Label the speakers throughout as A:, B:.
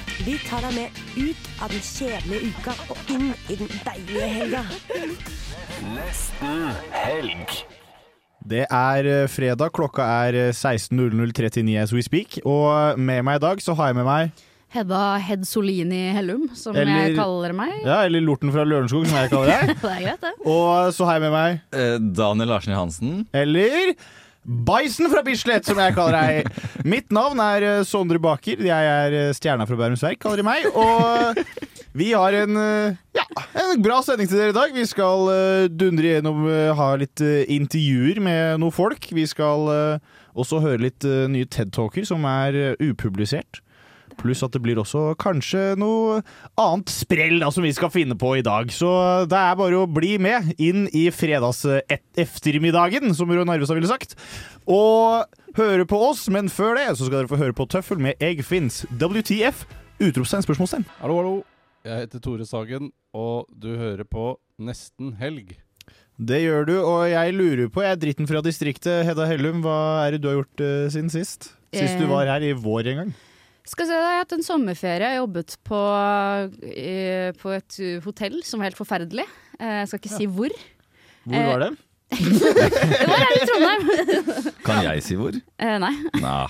A: Vi tar deg med ut av den kjedelige uka og inn i den deilige helga.
B: Det er eh, fredag, klokka er eh, 16.00.39 as we speak. Og eh, med meg i dag så har jeg med meg
C: Hedda Hed Solini Hellum, som
B: Eller-
C: jeg kaller meg.
B: Ja, eller Lorten fra Lørenskog, som jeg kaller deg.
C: Det er greit, det.
B: Og så har jeg med meg
D: Daniel Larsen Johansen.
B: Eller Bison fra Bislett, som jeg kaller deg. Mitt navn er eh, Sondre Baker. Jeg er eh, stjerna fra Bærums Verk, kaller de meg. Og vi har en, eh, ja, en bra sending til dere i dag. Vi skal eh, dundre gjennom, eh, ha litt eh, intervjuer med noen folk. Vi skal eh, også høre litt eh, nye TED-talker som er eh, upublisert. Pluss at det blir også kanskje noe annet sprell da, som vi skal finne på i dag. Så det er bare å bli med inn i fredags-ettermiddagen, som Rød Narvestad ville sagt. Og høre på oss, men før det så skal dere få høre på Tøffel med Egg Fins. WTF? Utropstegn, spørsmålstegn.
E: Hallo, hallo. Jeg heter Tore Sagen, og du hører på Nesten helg.
B: Det gjør du, og jeg lurer på, jeg er dritten fra distriktet, Hedda Hellum, hva er det du har gjort eh, siden sist? Sist du
C: Eh.
B: var her i vår en gang.
C: Skal se, Jeg har hatt en sommerferie. Jeg har jobbet på, eh, på et uh, hotell som var helt forferdelig. Eh, Jeg skal ikke si hvor.
B: Hvor var det?
C: Det var her i Trondheim!
D: Kan jeg si hvor?
C: Eh, Nei,
D: Nah.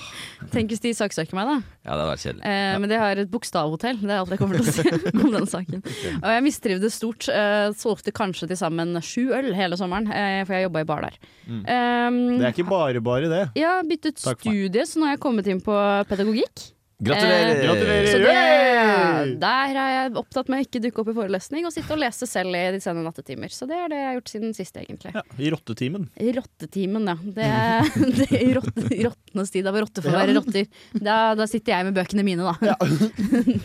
C: tenk hvis de saksøker meg, da.
D: Ja, det hadde vært kjedelig.
C: Eh, Men de har et bokstavhotell. Det er alt jeg kommer til å si om den saken. Og jeg mistrivdes stort. Eh, Solgte kanskje til sammen sju øl hele sommeren, eh, for jeg jobba i bar der. Eh,
B: Mm. Det er ikke bare bare det.
C: Jeg har byttet
B: Takk for meg.
C: studie, så nå har jeg kommet inn på pedagogikk.
D: Eh, Gratulerer!
B: Gratulerer!
C: Så
B: Yay!
C: det, der har jeg opptatt med å ikke dukke opp i forelesning og sitte og lese selv i de sene nattetimer. Så det er det jeg har gjort siden sist, egentlig.
B: Ja, I rottetimen.
C: Rottetimen, ja. Det er- det er i rotte, i rottenes tid. Da var rotter for å være rotter. Da, da sitter jeg med bøkene mine, da.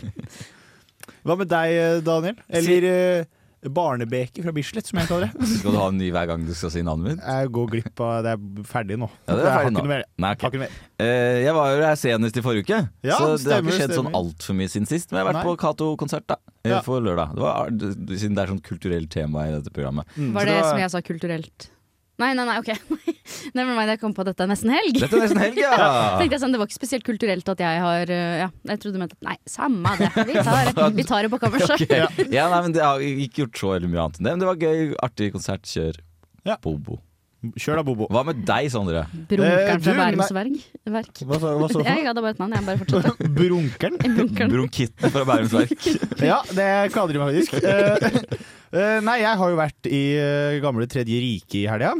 B: Hva med deg, eh, Daniel? Eller eh, Barnebeke fra Bislett, som jeg kaller det.
D: Skal du ha en ny hver gang du skal si navnet mitt?
B: Jeg går glipp av Det er ferdig nå.
D: Ja, det
B: Jeg
D: er
B: har
D: ferdig
B: ikke
D: nå.
B: noe mer.
D: Nei,
B: Har
D: ok.
B: ikke noe mer.
D: Eh, jeg var jo her senest i forrige uke,
B: Ja,
D: så det
B: stemmer,
D: har ikke skjedd
B: stemmer.
D: sånn altfor mye siden sist. Men jeg har vært
B: Nei.
D: på Cato-konsert da eh,
B: Ja.
D: for lørdag. Det var, siden det er sånn kulturelt tema i dette programmet.
B: Mm, så
C: Var det
B: da-
C: som jeg sa kulturelt? Nei, nei, nei, ok. Never mind, jeg kom på at dette er nesten helg.
D: Dette er nesten helg, ja!
C: Tenkte jeg sånn, Det var ikke spesielt kulturelt at jeg har eh, Ja, jeg trodde du mente at Nei, samme det. Vi tar, vi tar det på kammerset.
D: Ok. Ja, nei, men Det har ikke gjort så veldig mye annet enn det. Men det var gøy, artig konsert. Kjør
B: Ja.
D: bobo.
B: Kjør da, Bobo.
D: Hva med deg, Sondre?
B: Eh,
C: Brunkeren
B: du,
C: fra Bærums
B: nei-
C: verk. verk.
B: Hva sa, hva sa du? for
C: Jeg ga deg bare et navn, jeg bare fortsatte.
B: noe? Brunkeren?
C: Brunkeren.
D: Bronkitten fra Bærums Verk.
B: Ja, det kaller de meg faktisk. Eh, eh, nei, jeg har jo vært i eh, gamle Tredje rike i helga.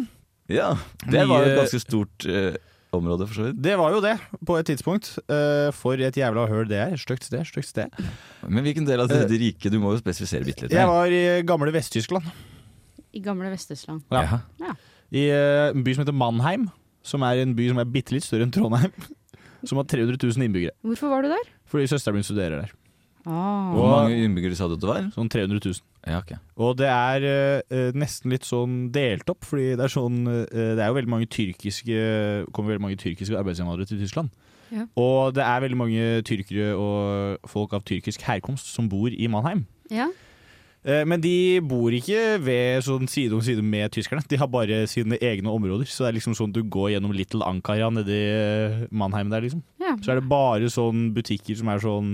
D: Ja, det var jo
B: Mye-
D: et ganske stort eh, område, for så vidt.
B: Det var jo det, på et tidspunkt. Eh, for et jævla høl det er. Stygt sted, stygt sted.
D: Men hvilken del av det, det rike? Du må jo spesifisere bitte litt.
B: Eh, Jeg var i eh, gamle Vest-Tyskland.
C: I gamle Vest-Tyskland.
B: Ja.
D: Ja.
B: I eh, en by som heter Mannheim, som er en by som er bitte litt større enn Trondheim. Som har 300 000 innbyggere.
C: Hvorfor var du der?
B: Fordi søsteren min studerer der.
C: Ah.
D: Hvor
B: Og-
D: mange innbyggere sa du at det var?
B: Sånn 300 000.
D: Ja, ok.
B: Og det er eh, nesten litt sånn delt opp, fordi det er sånn eh, Det er jo veldig mange tyrkiske kommer veldig mange tyrkiske arbeidsinnvandrere til Tyskland.
C: Ja.
B: Og det er veldig mange tyrkere og folk av tyrkisk herkomst som bor i Mannheim.
C: Ja.
B: Eh, Men de bor ikke ved sånn side om side med tyskerne. De har bare sine egne områder. Så det er liksom sånn du går gjennom Little Ankara nedi eh, Mannheim der, liksom.
C: ja.
B: Så er det bare sånn butikker som er sånn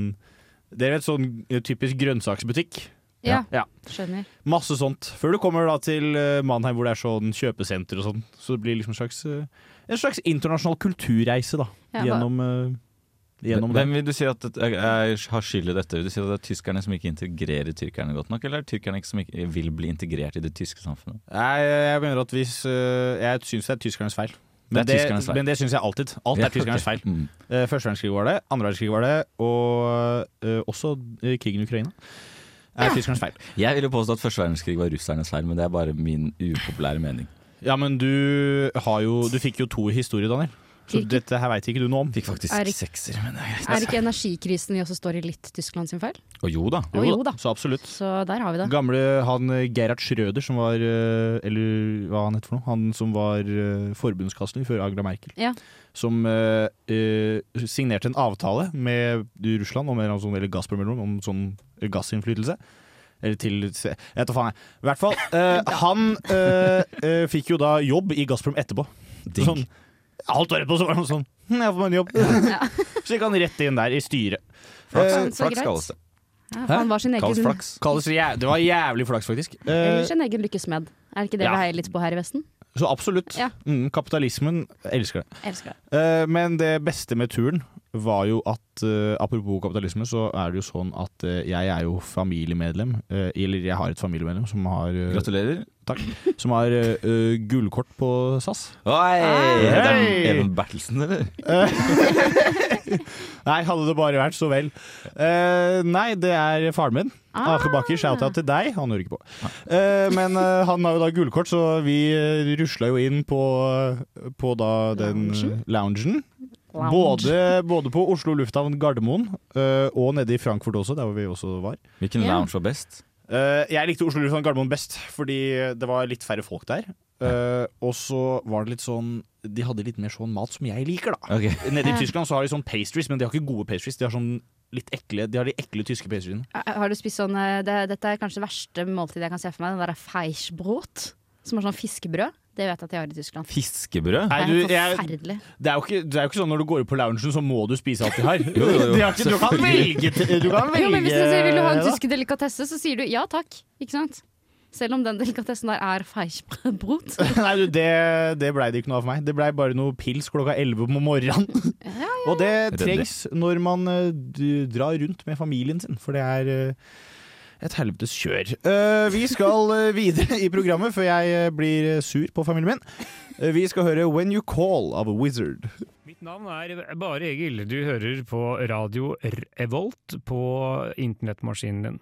B: Dere vet sånn eh, typisk grønnsaksbutikk.
C: Ja.
B: Ja.
C: Skjønner.
B: Masse sånt. Før du kommer da til eh, Mannheim hvor det er sånn kjøpesenter og sånn. Så det blir liksom en slags, eh, en slags internasjonal kulturreise, da.
C: Ja, hva-
B: gjennom eh, gjennom det.
D: Hvem vil du si at det- jeg, jeg har skyld i dette? Vil du si at det er tyskerne som ikke integrerer tyrkerne godt nok, eller er det tyrkerne ikke som ikke vil bli integrert i det tyske samfunnet?
B: Nei, jeg mener at hvis eh, Jeg syns det er tyskernes feil. Men det,
D: Det er tyskernes feil.
B: men det syns jeg alltid. Alt
D: Ja,
B: er tyskernes
D: ok.
B: feil.
D: Mm.
B: Eh, Første verdenskrig var det, andre verdenskrig var det, og eh, også eh, krigen i Ukraina. Er tyskernes feil.
D: Jeg vil jo påstå at første verdenskrig var russernes feil, men det er bare min upopulære mening.
B: Ja, men du har jo Du fikk jo to historier, Daniel. Så dette her veit ikke du noe om.
D: Fikk faktisk
C: Er ikke-
D: sekser, men det er greit.
C: Er ikke energikrisen vi også står i litt Tyskland sin feil?
D: Å, jo da.
C: Å, jo da.
B: Så absolutt.
C: Så der har vi det.
B: Gamle han eh, Gerhard Schrøder, som var eh, Eller hva han het for noe? Han som var eh, forbundskansler før Angela Merkel.
C: Ja.
B: Som eh, eh, signerte en avtale med Russland om, en sånn, eller Gazprom eller noe, om sånn gassinnflytelse. Eller til se- Jeg vet da faen, jeg. I hvert fall. eh, han eh, eh, fikk jo da jobb i Gazprom etterpå. Sånn, halvt år etterpå så var han sånn «Hm, Jeg får meg en jobb. så gikk han rett inn der i styret. Eh,
D: Flaks,
C: Sånn, Så greit.
D: flaks kalles det.
C: Ja, for han var sin egen,
B: Kalles jæ- det var jævlig flaks, faktisk.
C: eller
B: Eh,
C: sin egen lykkesmed. Er ikke det
B: Ja.
C: vi heier litt på her i Vesten?
B: så absolutt.
C: Ja.
B: Mm, kapitalismen jeg elsker det.
C: Elsker det.
B: Eh, men det beste med turen var jo at eh, apropos kapitalisme, så er det jo sånn at eh, jeg er jo familiemedlem. eh, eller jeg har et familiemedlem som har eh,
D: Gratulerer.
B: Takk. Som har eh, eh, gullkort på SAS.
D: Oi! Det er
B: Hei!
D: Even Bertelsen, eller?
B: Nei, hadde det bare vært så vel. Eh, nei, det er faren min.
C: Ah.
B: Ake Bakker, shout-out til deg. Han hører ikke på. Eh, men eh, han har jo da gullkort, så vi uh, rusla jo inn på, eh, på da den eh,
C: Loungen?
B: loungen.
C: Lounge.
B: Både, både på Oslo lufthavn Gardermoen eh, og nede i Frankfurt også, der hvor vi også var.
D: Hvilken
C: Ja.
D: lounge var best?
B: Eh, jeg likte Oslo lufthavn Gardermoen best, fordi det var litt færre folk der. Eh, og så var det litt sånn De hadde litt mer sånn mat som jeg liker, da.
D: Ok.
C: Ja.
B: Nede i Tyskland så har de sånn pastries, men de har ikke gode pastries. De har sånn litt ekle De har de ekle tyske pastriene.
C: Har du spist sånn eh, det, Dette er kanskje det verste måltidet jeg kan se for meg. Den derre feischbrot, som er sånn fiskebrød. Det vet jeg at de har i Tyskland.
D: Fiskebrød?
B: Nei,
C: Det
B: du,
C: er
B: jeg,
C: forferdelig.
B: det, er jo ikke, det er jo ikke sånn når du går ut på loungen, så må du spise alt de har.
D: Jo, jo, jo.
B: De har ikke, du kan velge til- Du kan velge
C: Jo, men hvis du sier vil du ha en
B: da.
C: tysk delikatesse, så sier du ja takk. Ikke sant? Selv om den delikatessen der er feischbrot.
B: Nei, du, det, det blei det ikke noe av for meg. Det blei bare noe pils klokka 11 om morgenen. Og det
D: Redelig.
B: trengs når man eh, d- drar rundt med familien sin, for det er eh, et helvetes kjør. Eh, vi skal eh, videre i programmet før jeg eh, blir eh, sur på familien min. Eh, vi skal høre When You Call av Wizard.
F: Mitt navn er Bare Egil. Du hører på radio Revolt på internettmaskinen din.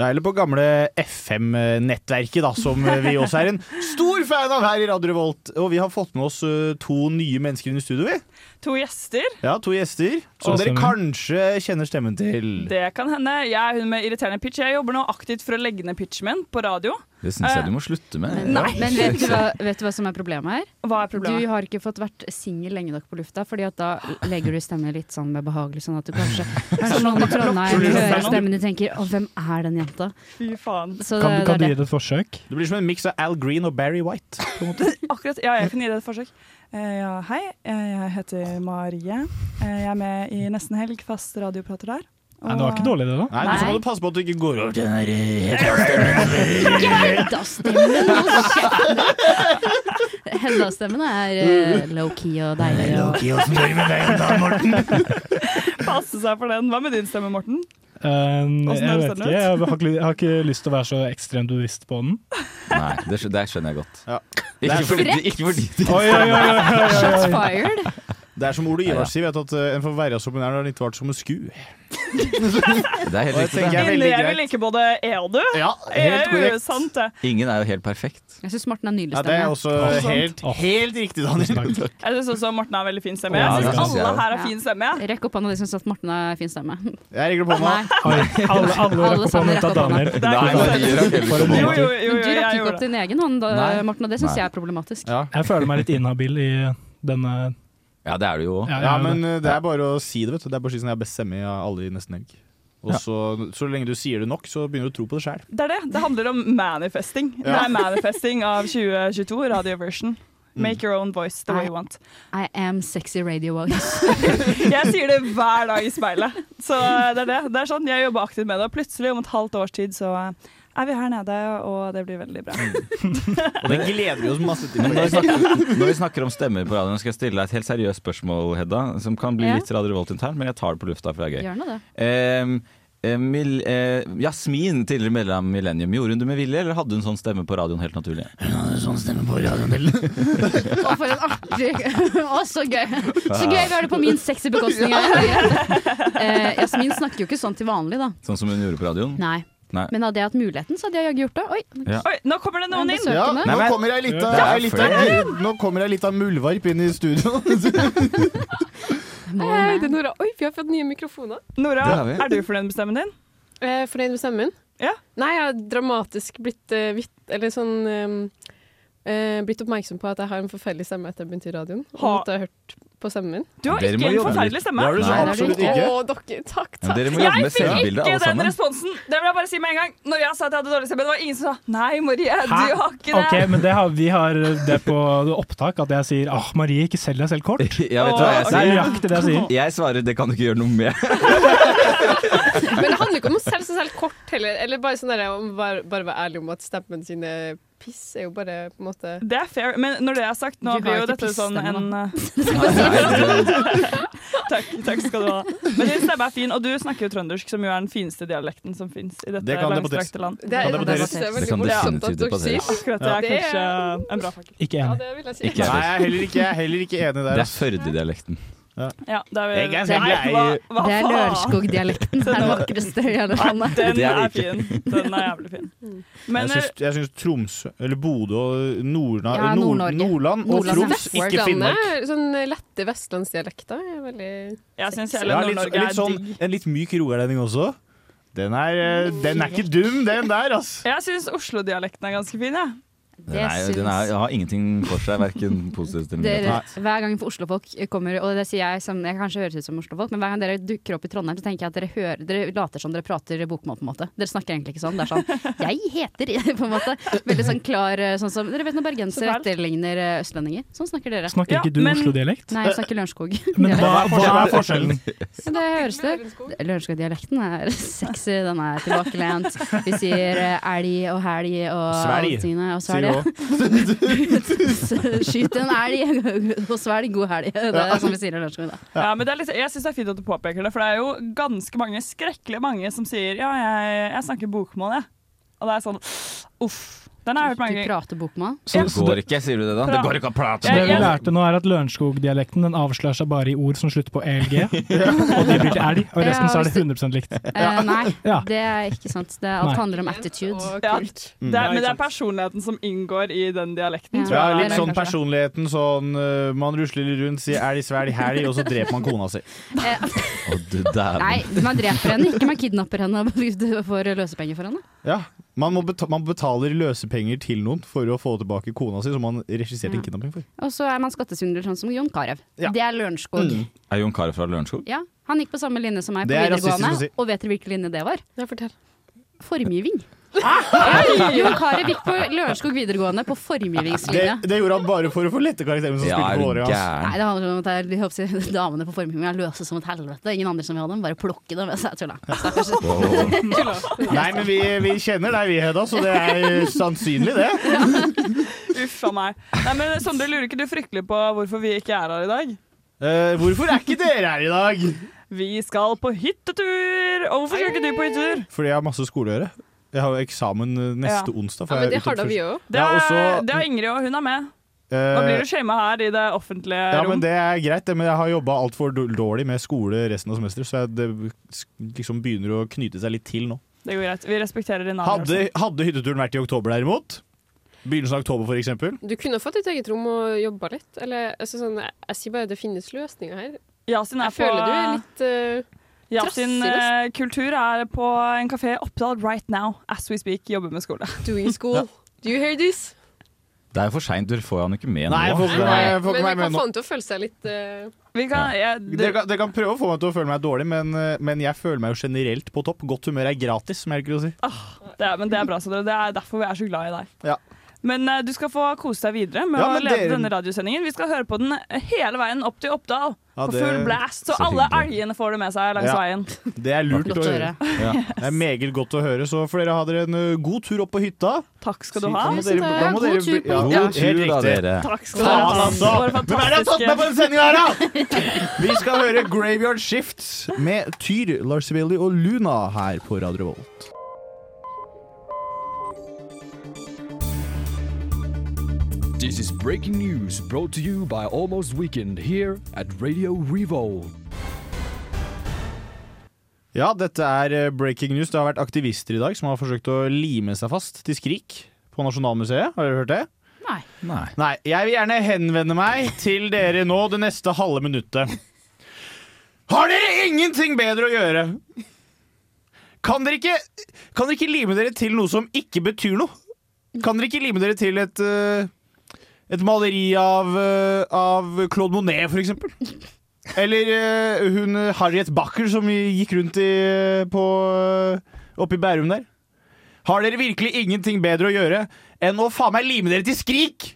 B: Ja, eller på gamle FM-nettverket, da, som eh, vi også er en stor fan av her i Radio Revolt. Og vi har fått med oss eh, to nye mennesker inn i studio, vi.
G: To gjester.
B: Ja, to gjester som dere kanskje kjenner stemmen til.
G: Det kan hende. Jeg er hun med irriterende pitch. Jeg jobber nå aktivt for å legge ned pitchen min på radio.
D: Det syns jeg
G: Eh,
D: du må slutte med.
G: Nei.
C: Men vet du, hva, vet du hva som er problemet her?
G: Hva er problemet?
C: Du har ikke fått vært singel lenge nok på lufta, Fordi at da legger du stemmen litt sånn med behagelig, sånn at du kanskje Kanskje noen i Trondheim hører stemmen din tenker 'Å, hvem er den jenta?'
G: Fy faen.
C: Så
H: Kan,
C: det,
H: kan du
C: det
H: gi
C: er det.
H: det et forsøk?
B: Det blir som en miks av Al Green og Barry White. På en måte.
G: Akkurat, ja, jeg kan gi det et forsøk. Eh, ja, hei, eh, jeg heter Marie. Eh, jeg er med i Nesten Helg, fast radioprater der.
H: Nei, det var ikke dårlig, det, da.
B: Nei, men Så må du passe på at du ikke går over til den der
C: Hedda-stemmen hold kjeft. Hedda-stemmen er eh, low-key og deilig. og-
G: Passe seg for den. Hva med din stemme, Morten?
H: Um,
G: Åssen er det
H: jeg vet
G: stemt
H: ikke,
G: ut?
H: jeg har ikke, jeg har ikke lyst til å være så ekstremt bevisst på den.
D: Nei, det, skj- det skjønner jeg godt.
B: Ja.
D: Ikke,
B: Det er
D: fordi,
C: frekk.
D: ikke fordi det
H: Oi, oi, oi, oi, oi,
C: Shots
H: oi.
C: fired.
B: Det er som Ole Ivars sier, vet du, at eh, en får være som en er når en ikke har vært som en sku.
D: Det er helt
B: Og jeg
D: riktig.
B: tenker-
D: det.
B: er veldig
G: Inne, jeg
B: greit.
G: vil like både E og du.
B: Ja, helt
G: EU,
B: korrekt.
G: sant det.
D: Ingen er jo helt perfekt.
C: Jeg syns Morten har nydelig
B: Ja, det er
C: stemme.
B: også
H: Åh, sant.
B: helt,
H: Åh.
B: helt riktig, Daniel.
H: Takk.
G: Jeg syns også Morten har veldig fin stemme.
H: Ja,
G: Jeg
H: det
G: syns
D: synes jeg
G: alle
D: også.
G: her har
C: Ja.
G: fin stemme. jeg.
C: Rekk opp hånda de som syns at Morten har fin stemme.
B: Jeg rekker opp hånda.
C: Nei.
H: Oi, alle alle rakk opp
C: sammen
H: hånden ut av
C: rakk opp
H: Daniel.
G: Det er
D: Nei,
G: ikke sant.
D: Marie rakk heller
H: For
D: ikke
H: en
D: opp
G: Jo, jo,
D: hånda.
C: Du
G: jo, jo, jeg
C: rakk ikke
G: gjorde
C: opp
G: det.
C: din egen hånd, da,
D: Nei.
C: Morten, og det syns
D: Nei.
C: jeg er problematisk.
B: Ja.
H: Jeg føler meg litt inhabil i denne
D: Ja, det er du jo òg.
H: Ja,
B: ja,
H: jeg-
B: men eh, det er bare å si det, vet du. Det er bare å si sånn jeg har best stemme av alle i Nesten Helg. Og
D: Ja.
B: så, så lenge du sier det nok, så begynner du å tro på det sjæl.
G: Det er det. Det handler om manifesting. Det er manifesting av 2022, radioversion. Make your own voice the way you want.
C: I am sexy radio voice.
G: Jeg sier det hver dag i speilet. Så det er det. Det er sånn, Jeg jobber aktivt med det, og plutselig om et halvt års tid så eh, er vi her nede, og det blir veldig bra.
B: Og det gleder vi oss masse til.
D: Men når vi, snakker, når vi snakker om stemmer på radioen, skal jeg stille deg et helt seriøst spørsmål, Hedda. Som kan bli
C: Ja.
D: litt Radio Revolt internt, men jeg tar det på lufta, for det er gøy.
C: Gjør nå det.
D: Ehm, eh, Mil- eh, Jasmin, tidligere medlem av Millennium, gjorde hun det med vilje, eller hadde hun sånn stemme på radioen helt naturlig?
C: Å, for en artig Å, så gøy! Så gøy vi har det på min sexy bekostning. her. Eh, Jasmin snakker jo ikke sånn til vanlig, da.
D: Sånn som hun gjorde på radioen?
C: Nei.
D: Nei.
C: Men hadde jeg hatt muligheten, så hadde jeg jaggu gjort det. Oi,
D: Ja.
G: Oi, nå kommer det noen
C: Nei,
G: inn!
C: besøkende.
B: Ja, nå kommer ei lita,
D: Ja.
B: ei lita, nå kommer ei lita muldvarp inn i studio.
I: Hei, hei, det er Nora. Oi, vi har fått nye mikrofoner.
G: Nora,
B: Det har vi.
G: er du fornøyd med stemmen din?
I: Eh, fornøyd med stemmen?
G: Ja.
I: Nei, jeg har dramatisk blitt eh, vitt, Eller sånn eh, eh, Blitt oppmerksom på at jeg har en forferdelig stemme etter jeg begynte i radioen. Og
G: Ha-
I: måtte ha hørt på stemmen min.
G: Du har Dere ikke må en jobbe forferdelig litt. stemme. Det har du så absolutt ikke.
I: Å, dere, takk,
D: Men
I: takk.
D: dere må jobbe med
G: Ikke
D: selvbildet, alle
G: den
D: sammen.
G: responsen! Det vil jeg bare si med en gang. Når jeg sa at jeg hadde dårlig stemme, det var ingen som sa nei, Marie, du har ikke det.
H: Ok, men det har, vi har det på opptak, at jeg sier 'Åh, Marie, ikke selg deg selv kort'.
D: Jeg vet hva jeg
H: Det er
D: sier.
H: nøyaktig det jeg sier.
D: Jeg svarer det kan du ikke gjøre noe med.
I: Men det handler ikke om å selge seg selv kort heller. Eller bare sånn der, om bare, bare være ærlig om at stemmen sin er piss, er jo bare på en måte
G: Det er fair, men når det er sagt, nå
I: Du har
G: blir jo
I: ikke
G: dette sånn
I: pissstemme,
G: en
I: da.
G: takk, takk skal du ha. Men din stemme er fin, og du snakker jo trøndersk, som jo er den fineste dialekten som fins i dette
B: Det kan debatteres.
G: langstrakte land.
B: Det Det kan debatteres. debatteres.
I: Det kan
B: definitivt
I: debatteres.
G: Akkurat det er
I: Ja.
G: kanskje eh, en bra fakkel.
H: Ikke enig.
D: Ikke jeg.
B: Nei, jeg er heller ikke, jeg er heller ikke enig der. altså.
D: Det er Førde-dialekten.
G: Ja, det er,
B: Jeg er
G: Nei,
B: helt
G: hva- hva
C: Det er
G: faen?
C: Lørenskog-dialekten. Det er det vakreste i hele landet.
G: Den
B: Det er
G: er
B: det ikke.
G: fin. Den er jævlig fin. Men
B: jeg syns- jeg syns Tromsø, eller Bodø og Nordna,
C: Ja,
B: Nord
C: Nord-Norge.
B: Nordland og
I: Nordland.
B: Troms, ikke
I: Vestlandet,
B: Finnmark.
I: Sånn lette vestlandsdialekter er veldig
G: eh, Jeg syns
B: Ja, litt, litt sånn, en litt myk rogalending også. Den er, eh, den er ikke dum, den der, ass.
G: Jeg syns Oslo-dialekten er ganske fin, jeg.
D: Den, er, den er, har ingenting for seg, verken positivt eller
C: Dere,
D: negativt.
C: hver gang Oslofolk kommer, og det sier jeg som jeg kanskje høres ut som Oslofolk, men hver gang dere dukker opp i Trondheim, så tenker jeg at dere, hører, dere later som dere prater bokmål, på en måte. Dere snakker egentlig ikke sånn. Det er sånn 'jeg heter', på en måte. Veldig sånn klar eh, sånn som Dere vet når bergensere etterligner eh, østlendinger? Sånn snakker dere.
H: Snakker ikke Ja, du men- Oslo-dialekt?
C: Nei, jeg snakker Lørenskog.
H: Men hva, hva er forskjellen?
C: Men det høres det. Lørenskog-dialekten er sexy, den er tilbakelent. Vi sier eh, elg og helg og
D: Svelg,
C: alle tingene. Og
D: sier
C: svelg. Skyt en elg og svelg god helg. Det er sånn vi sier i Lørenskog. da.
G: Ja, men det er litt, jeg syns det er fint at du påpeker det, for det er jo ganske mange, skrekkelig mange, som sier ja, jeg, jeg snakker bokmål, jeg. Og det er sånn uff. Den har jeg hørt mange
C: Du prater bokmål?
D: Så det går ikke, sier du det da? Det går ikke å
H: Så
D: prate
H: det vi
D: med
H: lærte nå, er at Lørenskog-dialekten den avslører seg bare i ord som slutter på elg, og det blir til elg, og
C: Ja,
H: resten så er
C: hvis
H: det 100 likt.
C: Eh, nei,
H: Ja.
C: det er ikke sant. Det alt
H: Nei.
C: handler om attitude.
G: Ja,
B: Mm.
G: det er, sånn- men det er personligheten som inngår i den dialekten. tror
B: Ja,
G: jeg.
B: litt sånn personligheten sånn eh, Man rusler litt rundt, sier elg, svelg, helg, og så dreper man kona si.
D: Å, du
C: Eh,
D: dæven.
C: Nei, man dreper henne ikke, man kidnapper henne og får løsepenger for henne.
B: Ja, man, må beta man betaler løsepenger til noen for å få tilbake kona si, som man regisserte en
C: Ja.
B: kidnapping for.
C: Og så er man skattesvindler sånn som Jon Carew. Det er Lørenskog.
D: Er Jon Carew fra Lørenskog?
C: Ja, han gikk på samme linje som meg på
D: Det er
C: videregående,
D: rasistisk å si.
C: og vet dere hvilken linje det var?
I: Ja, fortell.
C: Formgiving. Ja, Jon Carew gikk på Lørenskog videregående på
B: Det,
C: formgivingslinje.
B: det gjorde han bare for å få lette karakteren som
D: Ja,
B: spilte
D: er
B: på
D: du
B: håret hans.
C: Nei, det handler om at jeg, jeg håper, å si, damene på formgiving er løse som et helvete. Ingen andre som vil ha dem, bare plukke dem. Jeg tulla. Stakkars.
B: Nei, men vi, vi kjenner deg vi, Hedda, så det er sannsynlig, det.
G: Uff a meg. Nei, men Sondre, lurer ikke du fryktelig på hvorfor vi ikke er her i dag?
B: Eh, hvorfor er ikke dere her i dag?
G: Vi skal på hyttetur! Og hvorfor skal ikke du på hyttetur?
B: Fordi jeg har masse skole å gjøre. Jeg har jo eksamen eh, neste
G: Ja.
B: onsdag.
G: Ja,
B: for
G: men
B: jeg er
G: det har da
B: utdannet
G: vi
B: først.
G: Det
B: Ja, og
G: er,
B: så-
G: det er Ingrid, og hun er med.
B: Eh,
G: Nå blir du shama her i det offentlige
B: Ja, men
G: rom.
B: det er greit, det, men jeg har jobba altfor dårlig med skole resten av semesteret, så jeg, det liksom begynner å knyte seg litt til nå.
G: Det går greit. Vi respekterer din
B: Hadde,
G: avgjørelse.
B: hadde hytteturen vært i oktober derimot, begynnelsen av oktober for eksempel
I: Du kunne fått ditt eget rom og jobba litt. Eller, altså, sånn, jeg, jeg sier bare det finnes løsninger her.
G: Yasin er
I: jeg føler
G: på-
I: du er litt eh,
G: Yasin
I: trassig, nesten.
G: eh, kultur er på en kafé i Oppdal right now, as we speak, jobber med skole.
I: Doing school. Do you hear this?
D: Det er jo for seint, dere får jo han ikke med nå.
B: Nei, jeg får ikke- nei, jeg får
I: Men
B: ikke
I: vi
B: meg med
I: kan
B: nå.
I: få han til å føle seg litt eh,
B: Dere kan, dere kan prøve å få meg til å føle meg dårlig, men, eh, men jeg føler meg jo generelt på topp. Godt humør er gratis, som jeg liker å si.
G: Ah, Det er, men det er bra, Sondre. Det er derfor vi er så glad i deg.
B: Ja.
G: Men eh, du skal få kose deg videre med
B: Ja,
G: å
B: men
G: lede
B: dere-
G: denne radiosendingen. Vi skal høre på den eh, hele veien opp til Oppdal.
B: Ja,
G: på
B: det-
G: full blast, så,
B: Så
G: alle
B: hyggelig.
G: elgene får det med seg langs
B: Ja.
G: veien.
B: Det er lurt
G: Godt
B: å
G: å
B: høre.
G: høre.
B: Ja. Det er meget godt å høre, så får dere ha dere en ø, god tur opp på hytta.
G: Takk skal du
B: Så
G: ha. sånn
B: da må dere- da må
G: God
B: dere
G: tur
B: bli-
G: på
B: ja,
G: hytta.
B: ja,
G: God tur
B: helt
D: da,
B: riktig.
D: dere.
G: Takk skal du ha.
B: Faen, altså!
G: Våre
B: Hvem er det som har tatt
G: fantastiske-
B: meg på den sendinga her, da?! Vi skal høre Graveyard Shift med Tyr, Lars Veli og Luna her på Radio Volt.
J: This is breaking news brought to you by Almost Weekend here at Radio Revolt.
B: Ja, dette er eh, breaking news. Det har vært aktivister i dag som har forsøkt å lime seg fast til Skrik på Nasjonalmuseet. Har dere hørt det?
C: Nei.
D: Nei.
B: Jeg vil gjerne henvende meg til dere nå det neste halve minuttet. Har dere ingenting bedre å gjøre? Kan dere ikke, kan dere ikke lime dere til noe som ikke betyr noe? Kan dere ikke lime dere til et, eh, et maleri av, eh, av Claude Monet, for eksempel? Eller eh, hun eh, Harriet Backer som gikk rundt i, eh, på, eh, oppe i Bærum der. Har dere virkelig ingenting bedre å gjøre enn å faen meg lime dere til Skrik?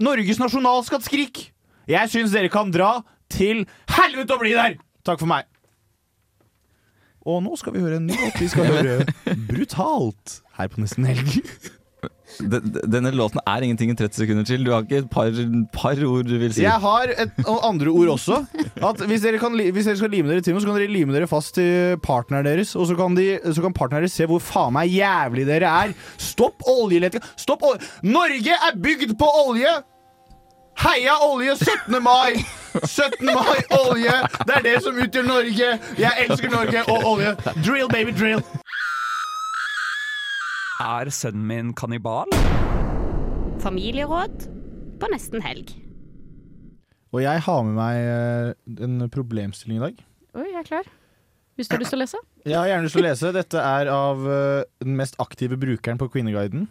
B: Norges nasjonalskatt Skrik! Jeg syns dere kan dra til helvete å bli der! Takk for meg. Og nå skal vi høre en ny låt. Vi skal høre Brutalt her på Nesten Helg.
D: Den- den- Denne låten er ingenting i 30 sekunder til. Du har ikke et par, par ord du vil si?
B: Jeg har et, og andre ord også. At hvis, dere kan, li- hvis dere skal lime dere til noe, så kan dere lime dere fast til partneren deres. Og så kan, de, så kan partneren deres se hvor faen meg jævlig dere er. Stopp oljeleting. Stopp olje. Norge er bygd på olje! Heia olje 17. mai! 17. mai, olje! Det er det som utgjør Norge. Jeg elsker Norge og olje. Drill, baby, drill.
K: Er sønnen min kannibal?
L: Familieråd på nesten helg.
B: Og jeg har med meg eh, en problemstilling i dag.
C: Oi, jeg er klar. Hvis du har lyst til å lese?
B: Jeg har gjerne lyst til å lese. Dette er av eh, den mest aktive brukeren på Queeneguiden.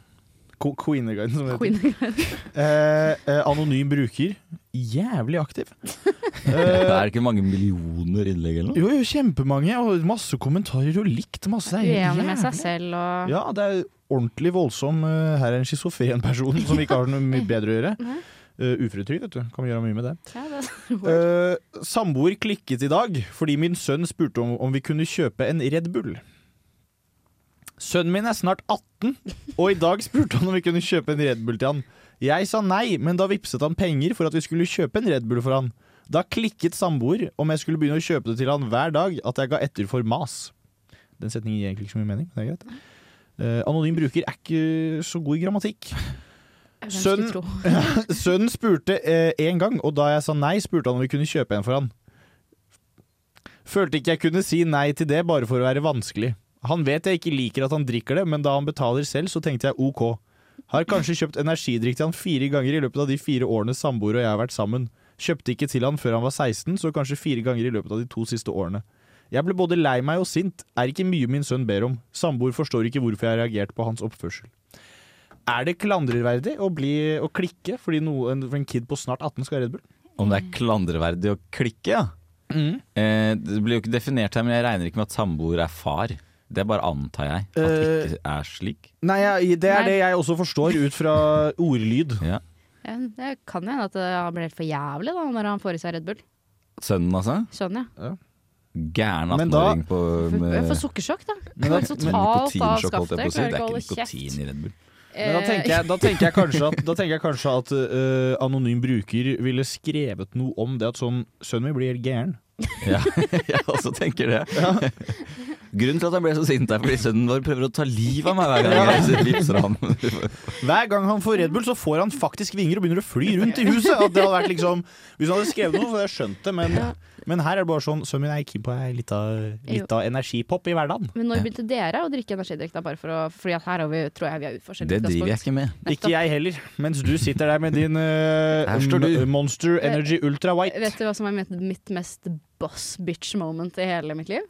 B: Ko- Queeneguiden, som det heter. Eh, eh, anonym bruker. Jævlig aktiv.
D: Det
B: Eh,
D: er ikke mange millioner innlegg
C: Mm.
D: eller noe?
B: jo, jo, kjempemange, og masse kommentarer og likt masse. Det er
C: Uenig
B: helt
C: med seg
B: jævlig.
C: selv og
B: Ja, det er ordentlig voldsom. eh, Her er en schizofren person som ikke har noe mye bedre å gjøre.
C: Nei.
B: Uh, Uføretrygd, vet du. Kan gjøre mye med det.
C: Ja,
B: Eh, samboer klikket i dag fordi min sønn spurte om, om vi kunne kjøpe en Red Bull. Sønnen min er snart 18, og i dag spurte han om vi kunne kjøpe en Red Bull til han. Jeg sa nei, men da vipset han penger for at vi skulle kjøpe en Red Bull for han. Da klikket samboer om jeg skulle begynne å kjøpe det til han hver dag, at jeg ga etter for mas. Den setningen gir egentlig ikke så mye mening, men det er greit. Eh, anonym bruker er ikke så god i grammatikk.
C: Hvem
B: Sønnen,
C: skulle tro?
B: sønnen spurte eh, en gang, og da jeg sa nei, spurte han om vi kunne kjøpe en for han. Følte ikke jeg kunne si nei til det bare for å være vanskelig. Han vet jeg ikke liker at han drikker det, men da han betaler selv, så tenkte jeg ok. Har kanskje kjøpt energidrikk til han fire ganger i løpet av de fire årene samboer og jeg har vært sammen. Kjøpte ikke til han før han var 16, så kanskje fire ganger i løpet av de to siste årene. Jeg ble både lei meg og sint, er ikke mye min sønn ber om. Samboer forstår ikke hvorfor jeg har reagert på hans oppførsel. Er det klandreverdig å, bli, å klikke fordi noen, for en kid på snart 18 skal ha Red Bull?
D: Om det er klandreverdig å klikke, ja.
B: Mm.
D: Eh, det blir jo ikke definert her, men jeg regner ikke med at samboer er far. Det bare antar jeg at
B: Eh,
D: det ikke er slik.
B: Nei, jeg, det er
C: Nei.
B: det jeg også forstår ut fra ordlyd.
C: Ja, Det kan jo hende at eh, han blir helt for jævlig da, når han får i seg Red Bull.
D: Sønnen, altså?
C: Sånn, ja.
D: Gæren
B: Men da-
D: 18-åring på
C: Jeg får
D: med
C: sukkersjokk, da.
D: eh, Men
C: Jeg
D: det-
C: får
D: men
C: totalt av
D: nikotinsjokk, holdt
C: skaftet.
D: jeg på å si.
C: klarer
D: Det er
C: ikke å holde Eh,
D: ikke nikotin i Red Bull.
B: Men da tenker jeg, da tenker jeg kanskje at, da tenker jeg kanskje at eh, anonym bruker ville skrevet noe om det at sånn Sønnen min blir helt gæren.
D: Ja, jeg også tenker det. Grunnen til at han ble så sint, er fordi sønnen vår prøver å ta livet av meg hver gang jeg vipser han.
B: Hver gang han får Red Bull, så får han faktisk vinger og begynner å fly rundt i huset. At det hadde vært liksom Hvis han hadde skrevet noe, så hadde jeg skjønt det, men, men her er det bare sånn Sønnen min er keen på ei lita, lita energipop i hverdagen.
C: Men når begynte dere å drikke energidrikk? da, bare for å, fordi at her har vi, tror jeg vi er ut forskjellige
D: Det driver jeg ikke med.
B: Ikke jeg heller, mens du sitter der med din eh,
D: Her står du.
B: Monster Energy Ultra White.
C: Vet du hva som er mitt, mitt mest boss bitch moment i hele mitt liv?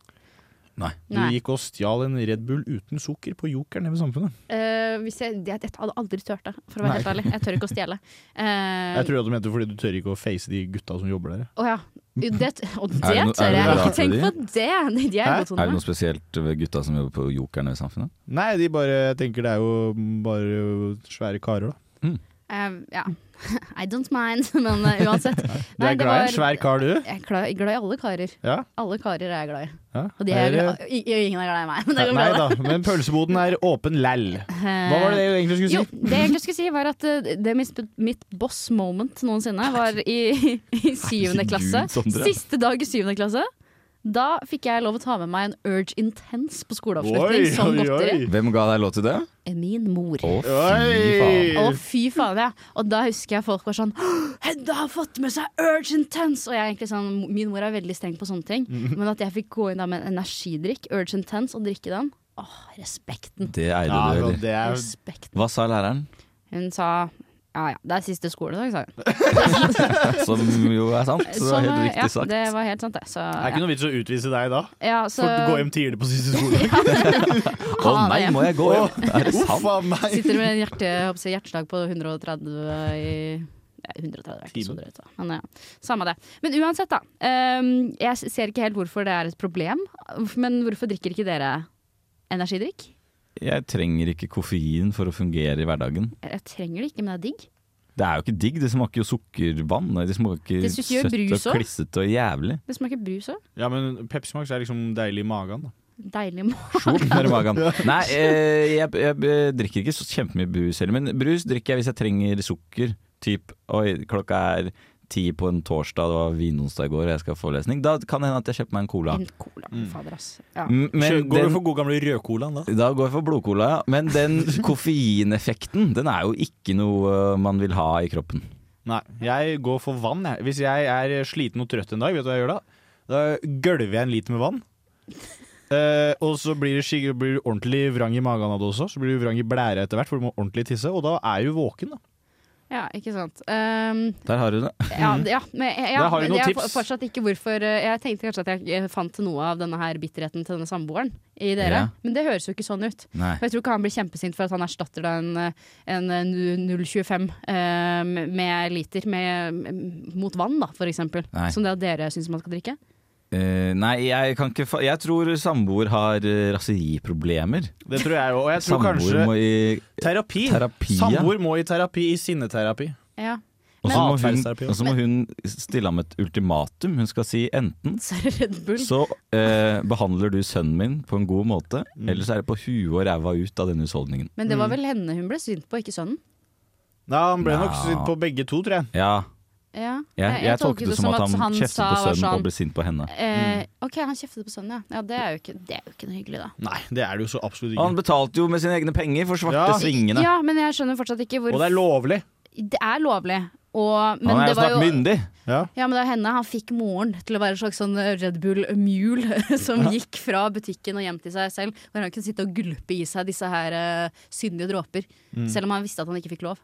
B: Du
C: Nei.
B: gikk og stjal en Red Bull uten sukker på Jokeren nede ved Samfunnet.
C: Eh, hvis jeg, jeg, jeg hadde aldri turt det, for å være
B: Nei.
C: helt ærlig. Jeg tør ikke å stjele. Eh,
B: Jeg tror at du mente fordi du tør ikke å face de gutta som jobber der.
C: Å ja. Jo, Det, og det
D: Er det no- er
C: tør
D: det
C: jeg
D: noe
C: ikke. Tenk på
D: rart
C: det! De er
D: Er
C: godt
D: det noe
C: håndverk.
D: spesielt ved gutta som jobber på Jokeren i samfunnet?
B: Nei, de bare jeg tenker det er jo bare svære karer, da.
C: Eh, ja. I don't mind, men eh, uansett.
B: Du er glad i en svær kar, du?
C: Jeg er glad, jeg er glad i alle karer.
B: Ja.
C: Alle karer er jeg glad i.
B: ja.
C: Og de er
B: Er det-
C: glad, i- i- ingen er glad i meg, men det går
B: Nei
C: bra.
B: da, men pølseboden er åpen læll. Hva var det du egentlig skulle
C: Eh,
B: si?
C: Jo, det jeg egentlig skulle si var at eh, det mitt, mitt boss moment noensinne var i, i syvende klasse.
B: Herregud, Sondre.
C: Siste dag i syvende klasse. Da fikk jeg lov å ta med meg en Urge Intense på skoleavslutning
D: Oi,
C: som
D: oi, oi.
C: godteri.
D: Hvem ga deg lov til det?
C: Min mor.
D: Å, fy faen.
C: Å, fy faen, ja. Og da husker jeg folk var sånn «Åh, Hedda har fått med seg Urge Intense! Og jeg er egentlig sånn, min mor er veldig streng på sånne ting.
D: Mhm.
C: Men at jeg fikk gå inn da med en energidrikk, Urge Intense, og drikke den, åh, respekten.
D: Det eide
B: Ja, sånn.
D: du,
B: men
D: eller?
B: det er-
C: Respekt.
D: Hva sa læreren?
C: Hun sa ja ja, det er siste skoledag, sa hun.
D: Som jo er sant. Det
C: Som,
D: var helt
C: eh,
D: riktig
C: ja,
D: sagt.
C: Det var helt sant, det. Så,
B: Det er ikke
C: ja.
B: noe vits å utvise deg da.
C: Ja, så-
B: For du går hjem tidlig på siste skole.
D: Å nei, må jeg gå hjem? Er det sant?
C: Sitter med en hjerte, jeg håper å si hjerteslag på 130 i ja, 130 er ikke så drøyt, da. Men, ja. Samme det. Men uansett, da. ehm, jeg s- ser ikke helt hvorfor det er et problem. Men hvorfor drikker ikke dere energidrikk?
D: Jeg trenger ikke koffein for å fungere i hverdagen.
C: Jeg, jeg trenger det ikke, men det er digg.
D: Det er jo ikke digg, det smaker jo sukkervann. Det smaker
C: Det smaker jo
D: søtt og
C: brus også.
D: klissete og jævlig.
C: Det smaker brus òg.
B: Ja, men Pepsi Max er liksom deilig i magen. Da.
C: Deilig morgen.
D: Mer i magen. Nei, eh, jeg, jeg, eh, drikker ikke så kjempemye brus heller. Men brus drikker jeg hvis jeg trenger sukker. Typ, oi, klokka er ti på en torsdag, det var vinonsdag i går, og jeg skal ha forelesning. Da kan det hende at jeg kjøper meg en cola.
C: En cola,
B: Mm.
C: fader ass. Ja.
D: M- men
B: Går
D: den-
B: du for god gamle rødcolaen da?
D: Da går jeg for blodcola, ja. Men den koffeineffekten, den er jo ikke noe eh, man vil ha i kroppen.
B: Nei, jeg går for vann. Jeg. Hvis jeg er sliten og trøtt en dag, vet du hva jeg gjør da? Da gølver jeg en liter med vann. Eh, og så blir det, skik- blir det ordentlig vrang i magen av det også. Så blir det vrang i blæra etter hvert, for du må ordentlig tisse. Og da er du våken, da.
C: Ja, ikke sant. Ehm,
D: Der har du det.
C: Ja, d- ja, men jeg, ja,
B: Der Mm. har du
C: men
B: noen
C: jeg
B: tips.
C: for- fortsatt ikke hvorfor eh, Jeg tenkte kanskje at jeg eh, fant noe av denne her bitterheten til denne samboeren i dere,
D: Ja.
C: men det høres jo ikke sånn ut.
D: Nei.
C: Og jeg tror ikke han blir kjempesint for at han erstatter da en, eh, en eh, nu- 0,25 eh, med liter med, m- mot vann, da, for eksempel.
D: Nei.
C: Som det at dere syns man skal drikke.
D: Eh, nei, jeg kan ikke fa Jeg tror samboer har eh, raseriproblemer.
B: Det tror jeg òg. Og jeg tror
D: Samboer
B: kanskje
D: må i
B: terapi.
D: Terapi, ja.
B: Samboer må i terapi, i sinneterapi.
C: Ja.
D: Og så må, hun-
B: Atferdsterapi, ja.
D: og så må hun stille ham et ultimatum. Hun skal si enten
C: Så er det Red Bull.
D: så eh, behandler du sønnen min på en god måte, eller så er det på huet og ræva ut av denne husholdningen.
C: Men det var vel henne hun ble sint på, ikke sønnen.
B: Ja, han ble nok
D: Nei.
B: sint på begge to, tror jeg.
D: Ja,
C: Ja.
D: jeg, jeg, tolket det som at han, kjeftet
C: sa
D: på
C: var
D: sønnen
C: sånn,
D: og ble sint på henne.
C: Eh, OK, han kjeftet på sønnen, ja. ja det, er jo ikke, det er jo ikke noe hyggelig, da.
B: Nei, det er det jo så absolutt
D: Han
B: ikke.
D: betalte jo med sine egne penger for svarte
B: Ja.
D: svingene.
C: Ja, men jeg skjønner fortsatt ikke hvor
B: Og det er lovlig.
C: Det er lovlig. Og, men
D: han er
C: det
D: jo
C: var
D: snart myndig.
C: Ja, men det var henne. Han fikk moren til å være en slags sånn Red Bull-mul som gikk fra butikken og hjem til seg selv. Hvor han kunne sitte og gulpe i seg disse her eh, syndige dråper.
D: Mm.
C: Selv om han visste at han ikke fikk lov.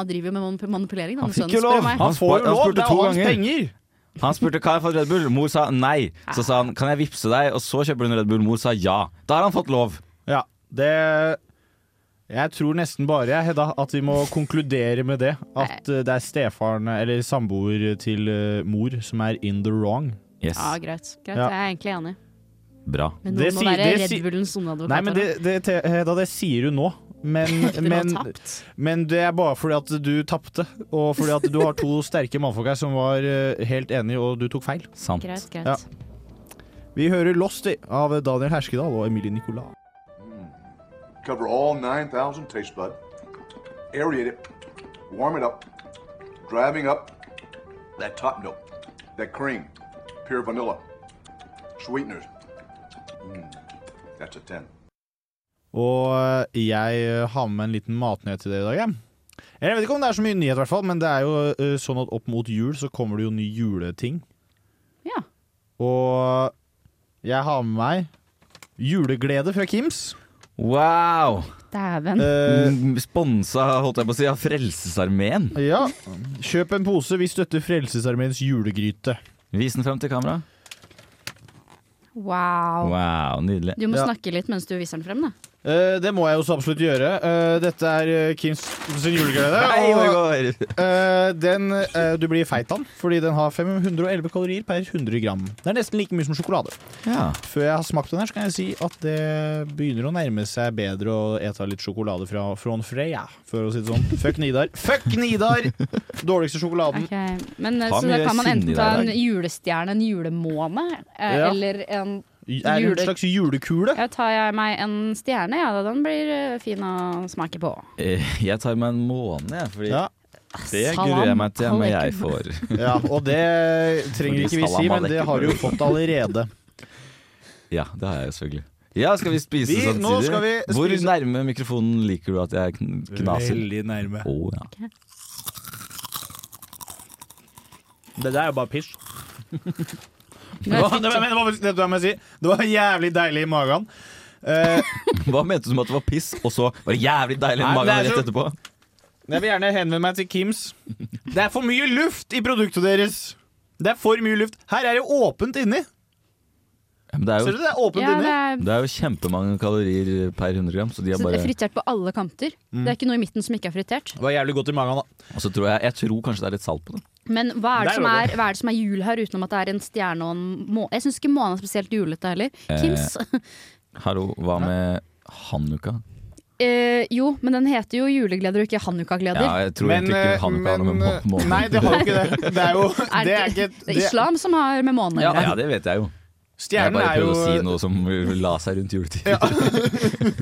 C: Han driver jo med manip- manipulering. da,
D: Han
C: med sønnen,
D: fikk jo
C: spør du
D: lov!
C: meg.
D: Han, spør- han spurte to
B: hans
D: ganger.
B: penger.
D: Han spurte hva jeg fått Red Bull. Mor sa nei. Så sa han kan jeg vippse deg, og så kjøper du en Red Bull. Mor sa ja. Da har han fått lov.
B: Ja, det Jeg tror nesten bare, jeg, Hedda, at vi må konkludere med det. At eh, det er stefaren, eller samboer til eh, mor, som er in the wrong.
D: Yes.
C: Ja, greit. greit.
B: Ja.
C: Jeg er egentlig enig.
D: Bra.
C: Men
B: Det
C: noen må
B: sier-
C: være
B: det
C: Red
B: sier-
C: Bullens sonadvokat.
B: Nei, men det, det, Te- Hedda, det sier du nå. Men,
C: Etter å ha
B: men, men det er bare fordi at du tapte, og fordi at du har to sterke mannfolk her som var eh, helt enige, og du tok feil.
D: Sant.
C: Greit, greit.
B: Vi hører 'Lost' i- av Daniel Herskedal og Emilie Nicolas.
M: Cover all 9,000 taste bud. Aerate it. Warm it up. Driving up that top note, that cream, pure vanilla, sweeteners. Mm, that's a 10.
B: Og eh, jeg har med en liten matnyhet til dere i dag. jeg. Eller Jeg vet ikke om det er så mye nyhet, i hvert fall, men det er jo eh, sånn at opp mot jul så kommer det jo nye juleting.
C: Ja.
B: Og jeg har med meg juleglede fra Kims.
D: Wow!
C: Dæven.
B: Eh.
D: Mm, Sponsa, holdt jeg på å si, av Frelsesarmeen.
B: Ja. Kjøp en pose. Vi støtter Frelsesarmeens julegryte.
D: Vis den fram til kamera.
C: Wow.
D: Wow, nydelig.
C: Du må
B: Ja.
C: snakke litt mens du viser den frem, da.
B: Eh, det må jeg jo så absolutt gjøre. Eh, dette er eh, Kims sin juleglede.
D: Hei,
B: og, eh, den, eh, du blir feit av den, fordi den har 511 kalorier per 100 gram. Det er nesten like mye som sjokolade.
D: Ja.
B: Før jeg har smakt på den her, så kan jeg si at det begynner å nærme seg bedre å ete litt sjokolade fra Från Freya, for å si det sånn. Fuck Nidar. Fuck Nidar! Dårligste sjokoladen.
C: Ok, Men eh,
B: Ta
C: så da
B: mye
C: kan man
B: sinne i
C: enten ta
B: deg i
C: en
B: dag.
C: julestjerne, en julemåne, eh,
B: Ja.
C: eller en
B: Er det en slags julekule?
C: Ja, tar jeg meg en stjerne, ja da. Den blir eh, fin å smake på.
D: Eh, Jeg tar meg en måned, jeg, fordi
B: Ja.
D: det
C: Salam
D: gruer jeg meg til når jeg
C: aleikum.
D: får
B: Ja, og det trenger
D: Fordi
B: ikke vi si,
D: salam
B: men det
D: aleikum.
B: har du jo fått allerede.
D: Ja, det har jeg jo selvfølgelig. Ja, skal vi spise
B: Vi-
D: samtidig?
B: nå skal vi
D: Hvor
B: spise-
D: nærme mikrofonen liker du at jeg kn- knaser?
B: Veldig nærme.
D: Å, ja.
B: Det der er jo bare pisj.
D: er
B: det, var, det, var, men det, var, det, var, si. det var jævlig deilig i magen. Eh,
D: Hva mente du med at det var piss, og så var det jævlig deilig i
B: Nei,
D: magen
B: det er
D: rett
B: så-
D: etterpå?
B: jeg vil gjerne henvende meg til Kims. Det er for mye luft i produktet deres! Det er for mye luft. Her er det jo åpent inni.
D: Ja, men det er jo,
B: Ser du det er åpent
C: Ja,
B: inni?
C: det er-
D: Det er jo kjempemange kalorier per 100 gram, så de
C: Så
D: har
C: det
D: bare
C: er fritert på alle kanter.
D: Mm.
C: Det er ikke noe i midten som ikke er fritert.
B: Det var jævlig godt i magen, da.
D: Og så altså, tror jeg, jeg tror kanskje det er litt salt på det.
C: Men hva er, det
D: Det er
C: som
D: jo
C: er,
D: godt.
C: hva er det som er jul her, utenom at det er en stjerne og en måne? Jeg syns ikke månen er spesielt julete heller.
D: Eh.
C: Kims.
D: Hallo, hva med hanukka?
C: Eh, jo, men den heter jo julegleder og ikke hanukka-gleder.
D: Ja, jeg tror egentlig ikke hanukka har noe med må- månen
B: eh, Nei, det har jo ikke det. Det er jo det er ikke
C: det er islam som har med månen å
D: Ja,
C: gjøre.
D: ja, det vet jeg jo.
B: Stjernen
D: jeg bare
B: er jo-
D: prøvde å si noe som la seg rundt juletid.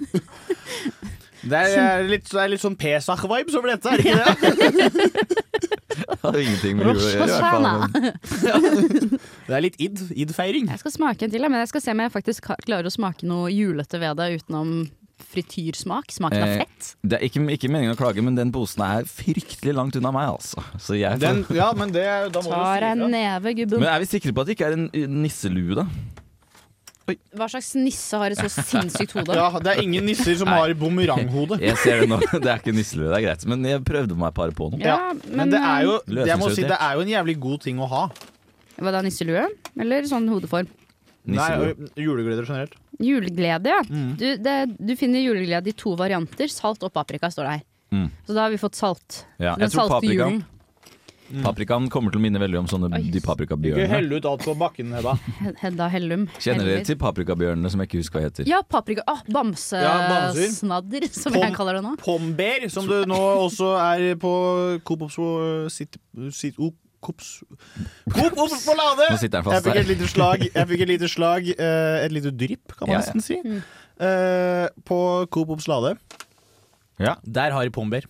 B: Det er, er litt, det er litt sånn Pesach-vibes over dette, er det ikke det?
D: Det hadde ingenting med jul å gjøre. i hvert fall, men-
B: Det er litt id. Id-feiring.
C: Jeg skal smake en til, ja, men jeg skal se om jeg faktisk ka- klarer å smake noe julete ved det utenom frityrsmak. Smaken av
D: Eh,
C: fett.
D: Det er ikke, ikke meningen å klage, men den posen er fryktelig langt unna meg, altså. Så jeg får...
B: Den, ja, men det er jo- da
C: Tar
B: må du si
C: en
B: ifra.
C: neve, gubben.
D: Men er vi sikre på at det ikke er en nisselue, da?
C: Hva slags nisse har et så sinnssykt hode?
B: Ja, det er ingen nisser som
D: Nei.
B: har bumeranghode.
D: Jeg ser det nå. Det er ikke nisselue, det er greit. Men jeg prøvde meg et par på nå.
C: Ja,
B: men, det er jo
D: Løsningsorientert.
B: jeg må si, det er jo en jævlig god ting å ha.
C: Hva da, nisselue? Eller sånn hodeform?
B: Nei, Julegleder generelt.
C: Juleglede, ja. Du, det, du finner juleglede i to varianter. Salt og paprika, står det her.
D: Mm.
C: Så da har vi fått salt.
D: Ja,
C: Den
D: jeg tror
C: salte
D: paprikaen,
C: julen.
B: Mm.
D: paprikaen kommer til å minne veldig om sånne de paprikabjørnene.
B: ut alt på bakken, Hedda.
C: Hedda Hellum.
D: Kjenner dere
C: Heller.
D: til paprikabjørnene som jeg ikke husker hva heter?
C: Ja, paprika. Ah,
B: Ja, bamser.
C: Bamsesnadder, som jeg
B: Pom-
C: kaller det nå.
B: Pomber, som du nå også er på Coop Ops eh, sitt, sitt, o, Coops. Coop Ops på Lade!
D: Nå sitter den fast
B: jeg fikk
D: der.
B: et lite slag, jeg fikk et lite slag eh, et lite drypp, kan man
D: Ja, Mm. ja.
B: nesten si, eh, på Coop Ops Lade.
D: Ja.
B: Der har de pomber.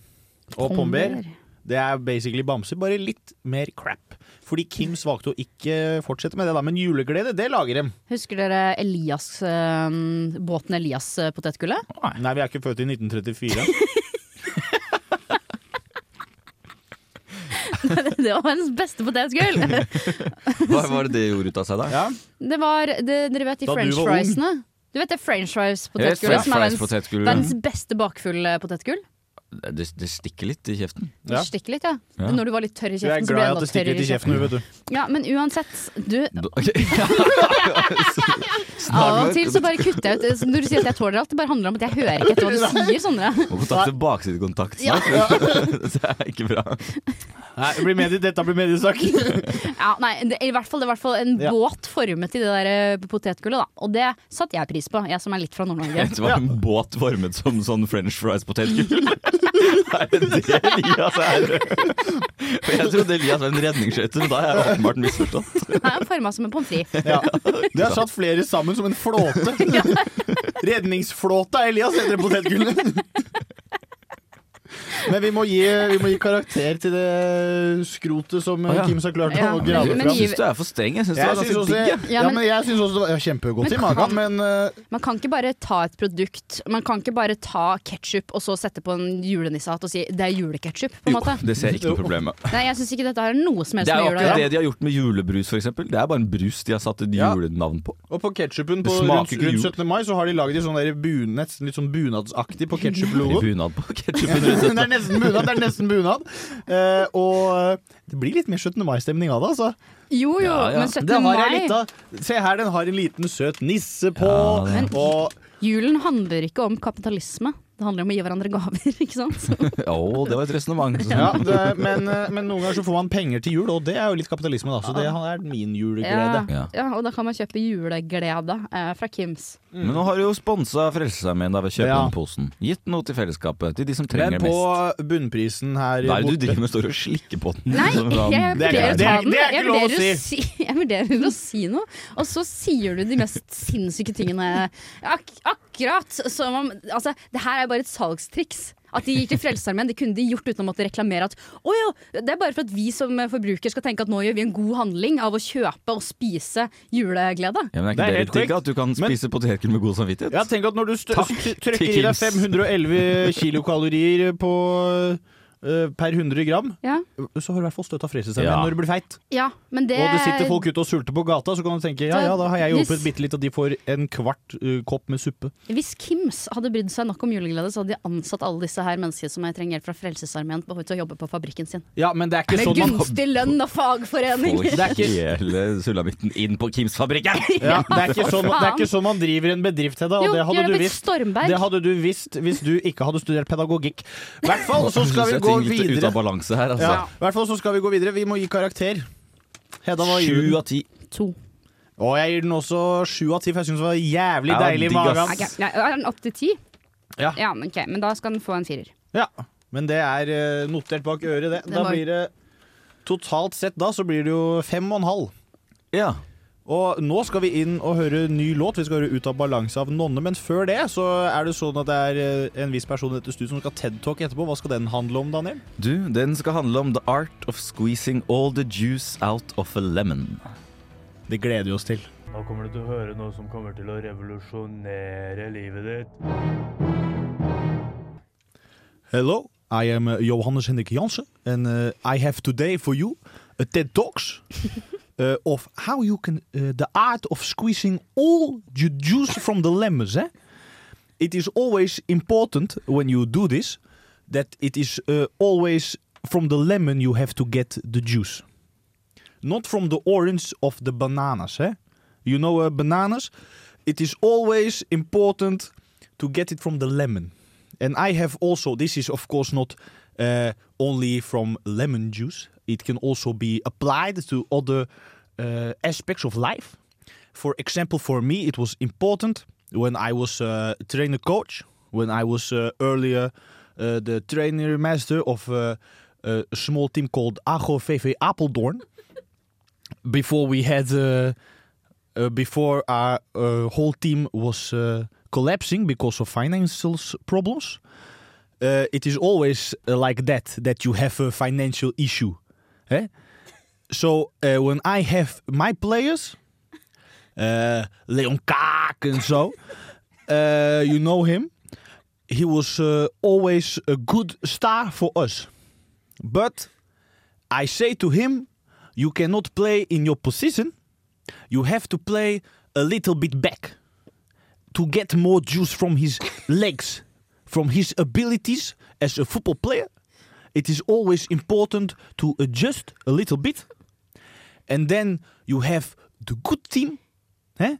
B: Og pomber,
D: Pomber.
B: det er basically bamser, bare litt mer crap. Fordi Kims valgte å ikke fortsette med det, da, men juleglede, det lager dem.
C: Husker dere Elias, eh, båten eh, Elias-potetgullet?
B: Nei, vi er ikke født i 1934.
C: det var verdens beste potetgull!
D: Hva var det det gjorde ut av seg da?
C: Det var det, Dere vet de
D: Da du
C: french
D: var ung.
C: friesene? Du vet det french
D: Jeg
C: fries-potetgullet
D: vet french
C: som er verdens,
D: fries-potetgullet.
C: verdens beste bakfulle potetgull?
D: Det, det stikker litt i kjeften.
C: Det stikker litt, ja.
D: Ja.
C: Når du var litt tørr i
D: Jeg er
C: kjeften, så ble du
D: glad i at
C: enda
D: det stikker
C: tørrere
D: litt i kjeften,
C: kjeften.
B: vet du.
C: Ja, men uansett, du Av
D: Snarere.
C: og til så bare kutter jeg ut eh, Når du sier at jeg tåler alt, det bare handler om at jeg hører ikke etter hva du sier, Sondre.
D: Må kontakte baksidekontakt
C: Ja.
D: snart. det er ikke bra.
B: Nei, det blir medie, dette blir mediesak.
C: Ja, nei, det, i hvert fall, det er i hvert fall en
B: Ja.
C: båt formet i det der eh, potetgullet, da. Og det satte jeg pris på, jeg som er litt fra Nord-Norge.
D: Det var en båt varmet som sånn french fries-potetgull. er det det Elias er? For jeg trodde Elias var en redningsskøyte, men da har jeg åpenbart misforstått.
C: Den er forma som en pommes frites.
B: Ja. Det har satt flere sammen som en flåte. Redningsflåta Elias heter det potetgullet. Men vi må, gi, vi må gi karakter til det skrotet som eh, Kim har klart å grave fram.
D: Jeg syns du er for streng. Jeg syns du
B: Jeg
D: er
B: syns
D: ganske
B: også,
D: digg.
B: ja,
D: jeg.
C: Ja, men-
B: men jeg syns også det var kjempegodt
C: Men
B: i magen,
C: kan-
B: men eh,
C: Man kan ikke bare ta et produkt. Man kan ikke bare ta ketsjup og så sette på en julenissehatt og si det er juleketsjup, på en måte.
D: Det ser jeg ikke noe problem med.
C: Nei, jeg syns ikke dette har noe som helst
D: Det
C: med
D: er jo
C: jula å
D: akkurat det
C: gjøre.
D: de har gjort med julebrus, f.eks. Det er bare en brus de har satt et julenavn på.
B: Og på ketsjupen
D: Det
B: på
D: smaker
B: rundt,
D: ikke
B: rundt
D: jul.
B: 17. mai så har de laget en sånn der bun, nesten litt sånn bunadsaktig på
D: I
B: ketsjup-logoen.
D: bunad på
B: det
D: ketchupen rundt dette.
B: er nesten bunad. det er nesten bunad Eh, Og eh, det blir litt mer 17. mai-stemning av det, altså.
C: Jo jo,
B: Ja, ja.
C: men 17.
B: Det har jeg
C: mai
B: litt av. Se her, den har en liten søt nisse på.
C: Men-
B: og
C: Julen handler ikke om kapitalisme. Det handler om å gi hverandre gaver, ikke sant.
D: Å, det var et resonnement.
B: ja, det, men, eh, men noen ganger så får man penger til jul, og det er jo litt kapitalisme, da. Så det er min juleglede.
C: Ja, ja, og da kan man kjøpe juleglede eh, fra Kims.
D: Men nå har du jo sponsa Frelsesarmeen da ved å kjøpe
B: Ja.
D: den posen. Gitt noe til fellesskapet, til de som trenger
B: Men
D: det
B: på
D: mest.
B: bunnprisen her
D: Hva er det
B: borte-
D: du driver med? Står og slikker på den?
C: Nei,
D: Som sånn-
C: jeg
D: Det
C: vurderer
D: er
C: å ta
D: ikke- det er-
C: den.
B: det er ikke
C: Jeg
B: lov å
C: vurderer å si. Jeg vurderer å si noe, og så sier du de mest sinnssyke tingene. Ak akkurat som om Altså, det her er bare et salgstriks. At de gikk til Frelsesarmeen. Det kunne de gjort uten å måtte reklamere at å ja, det er bare for at vi som forbruker skal tenke at nå gjør vi en god handling av å kjøpe og spise juleglede.
D: Ja, men er ikke
B: Det er
D: det
B: helt
D: litt digg
B: korrekt.
D: at du kan spise potetgull med god samvittighet?
B: Ja, tenk at når du stø-
D: Takk
B: st-
D: til
B: trykker i deg
D: Kims.
B: 511 kilokalorier på, eh, per 100 gram,
C: Ja.
B: så har du i hvert fall støtta frelsesarmeen
D: Ja.
B: når du blir feit.
C: Ja, men det
B: Og det sitter folk ute og sulter på gata, så kan du tenke ja ja, da har jeg hjulpet
C: Hvis-
B: bitte litt, og de får en kvart eh, kopp med suppe.
C: Hvis Kims hadde brydd seg nok om juleglede, så hadde de ansatt alle disse her menneskene som jeg trenger hjelp fra Frelsesarmeen på- til å jobbe på fabrikken sin.
B: Ja, men det er ikke
C: Med
B: sånn man
C: gunstig lønn og fagforening!
D: Får hele sulamitten inn på Kims fabrikken!
B: ja, det, er ikke sånn, det er ikke sånn man driver en bedrift, Hedda. Og
C: Jo,
B: det hadde
C: gjør det
B: du
C: til
B: visst.
C: Stormberg.
B: Det hadde du visst hvis du ikke hadde studert pedagogikk. I hvert fall så skal vi gå
D: Jeg synes ting er litt Ut
B: videre.
D: av balanse her, altså.
B: Ja, i hvert fall så skal vi gå videre. Vi må gi karakter. Hedda, hva gir du?
D: Sju av ti.
C: To.
B: Og jeg gir den også sju av ti, for jeg syns det var jævlig
D: Ja, det var
B: deilig i
D: digg, ass.
B: magen.
C: Ok, nei, Er den opp til ti?
B: Ja.
C: ja men, ok, men da skal den få en firer.
B: Ja, men det er eh, notert bak øret, det.
C: Den
B: Da
C: var-
B: blir det Totalt sett da så blir det jo fem og en halv.
D: Ja.
B: Og nå skal vi inn og høre ny låt. Vi skal høre Ut av balanse av Nonne. Men før det så er det sånn at det er eh, en viss person i dette studio som skal TED-talk etterpå. Hva skal den handle om, Daniel?
D: Du, den skal handle om the art of squeezing all the juice out of a lemon.
B: Det gleder vi oss til.
N: Nå kommer du til å høre noe som kommer til å revolusjonere livet ditt.
B: Hello, I am uh, Johannes Hendrik Jansen, and uh, I have today for you a TED Talks uh, of how you can uh, the art of squeezing all the juice from the lemons. Eh? It is always important when you do this that it is uh, always from the lemon you have to get the juice, not from the orange of the bananas. Eh? You know uh, bananas. It is always important to get it from the lemon. And I have also, this is of course not uh, only from lemon juice, it can also be applied to other uh, aspects of life. For example, for me, it was important when I was uh, trainer coach, when I was uh, earlier uh, the trainer master of uh, a small team called Ago VV Apeldoorn. Before we had uh, uh, before our uh, whole team was uh, collapsing because of financial s- problems. Uh, it is always uh, like that that you have a financial issue. hè? So uh, when I have my players, uh, Leon Kaak and so, uh, you know him. He was uh, always a good star for us, but I say to him, you cannot play in your position. You have to play a little bit back to get more juice from his legs, from his abilities as a football player. It is always important to adjust a little bit. And then you have the good team. Hè?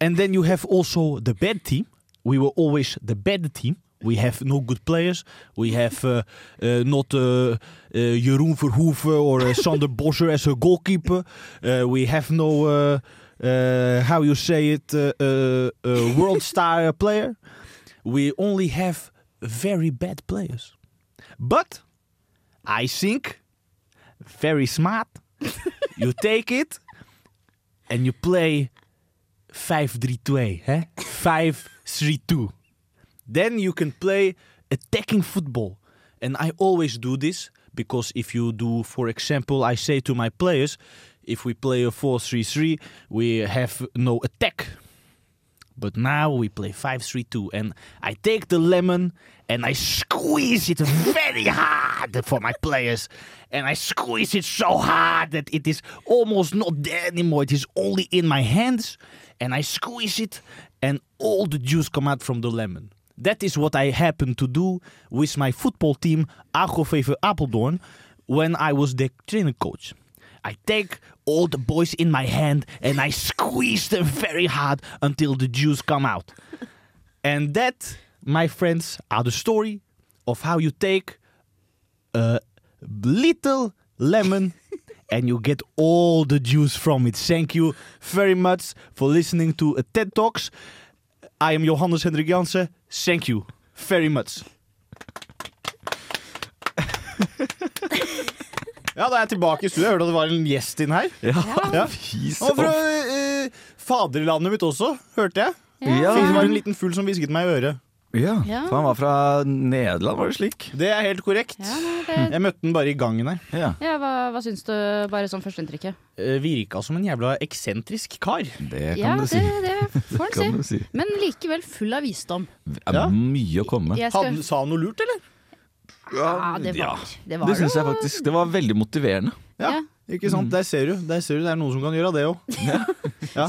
B: And then you have also the bad team. We were always the bad team. We have no good players. We have uh, uh, not uh, uh, Jeroen Verhoeven or uh, Sander Bosser as a goalkeeper. Uh, we have no, uh, uh, how you say it, uh, uh, uh, world star player. We only have very bad players. But I think very smart. you take it and you play 5-3-2, hè? 5-3-2. Then you can play attacking football. And I always do this because if you do, for example, I say to my players, if we play a 4-3-3, we have no attack. But now we play 5-3-2 and I take the lemon and I squeeze it very hard for my players. And I squeeze it so hard that it is almost not there anymore. It is only in my hands and I squeeze it and all the juice come out from the lemon. That is what I happen to do with my football team AGOVV Apeldoorn when I was the trainer coach. I take all the boys in my hand and I squeeze them very hard until the juice come out. And that, my friends, are the story of how you take a little lemon and you get all the juice from it. Thank you very much for listening to a TED Talks. I am Johannes Hendrik Jansen. Thank you very much. Ja, da er jeg tilbake i studio. Jeg hørte at det var en gjest inn her.
D: Ja. Fy
B: Og fra
D: søren.
B: eh, faderlandet mitt også, hørte jeg.
D: Ja.
B: Ah. Det var en liten fugl som hvisket meg i øret.
D: Ja,
C: Ja.
D: for han var fra Nederland, var det slik?
B: Det er helt korrekt.
C: det-
B: Jeg møtte den bare i gangen her.
C: Ja, hva, hva syns du, bare sånn førsteinntrykket?
B: Eh, Virka som en jævla eksentrisk kar.
D: Det
C: Ja, det, det får
D: Kan
C: en
D: du
C: si.
D: si.
C: Men likevel full av visdom.
D: Det er mye å komme med.
C: Jeg skal- Hadde-
B: Sa han noe lurt, eller?
C: Ja, det var
D: Ja,
C: det. Var
D: det syns jeg faktisk. Det var veldig motiverende.
B: Ja, ikke sant? Der ser du. Der ser du, Det er noen som kan gjøre det òg. Ja.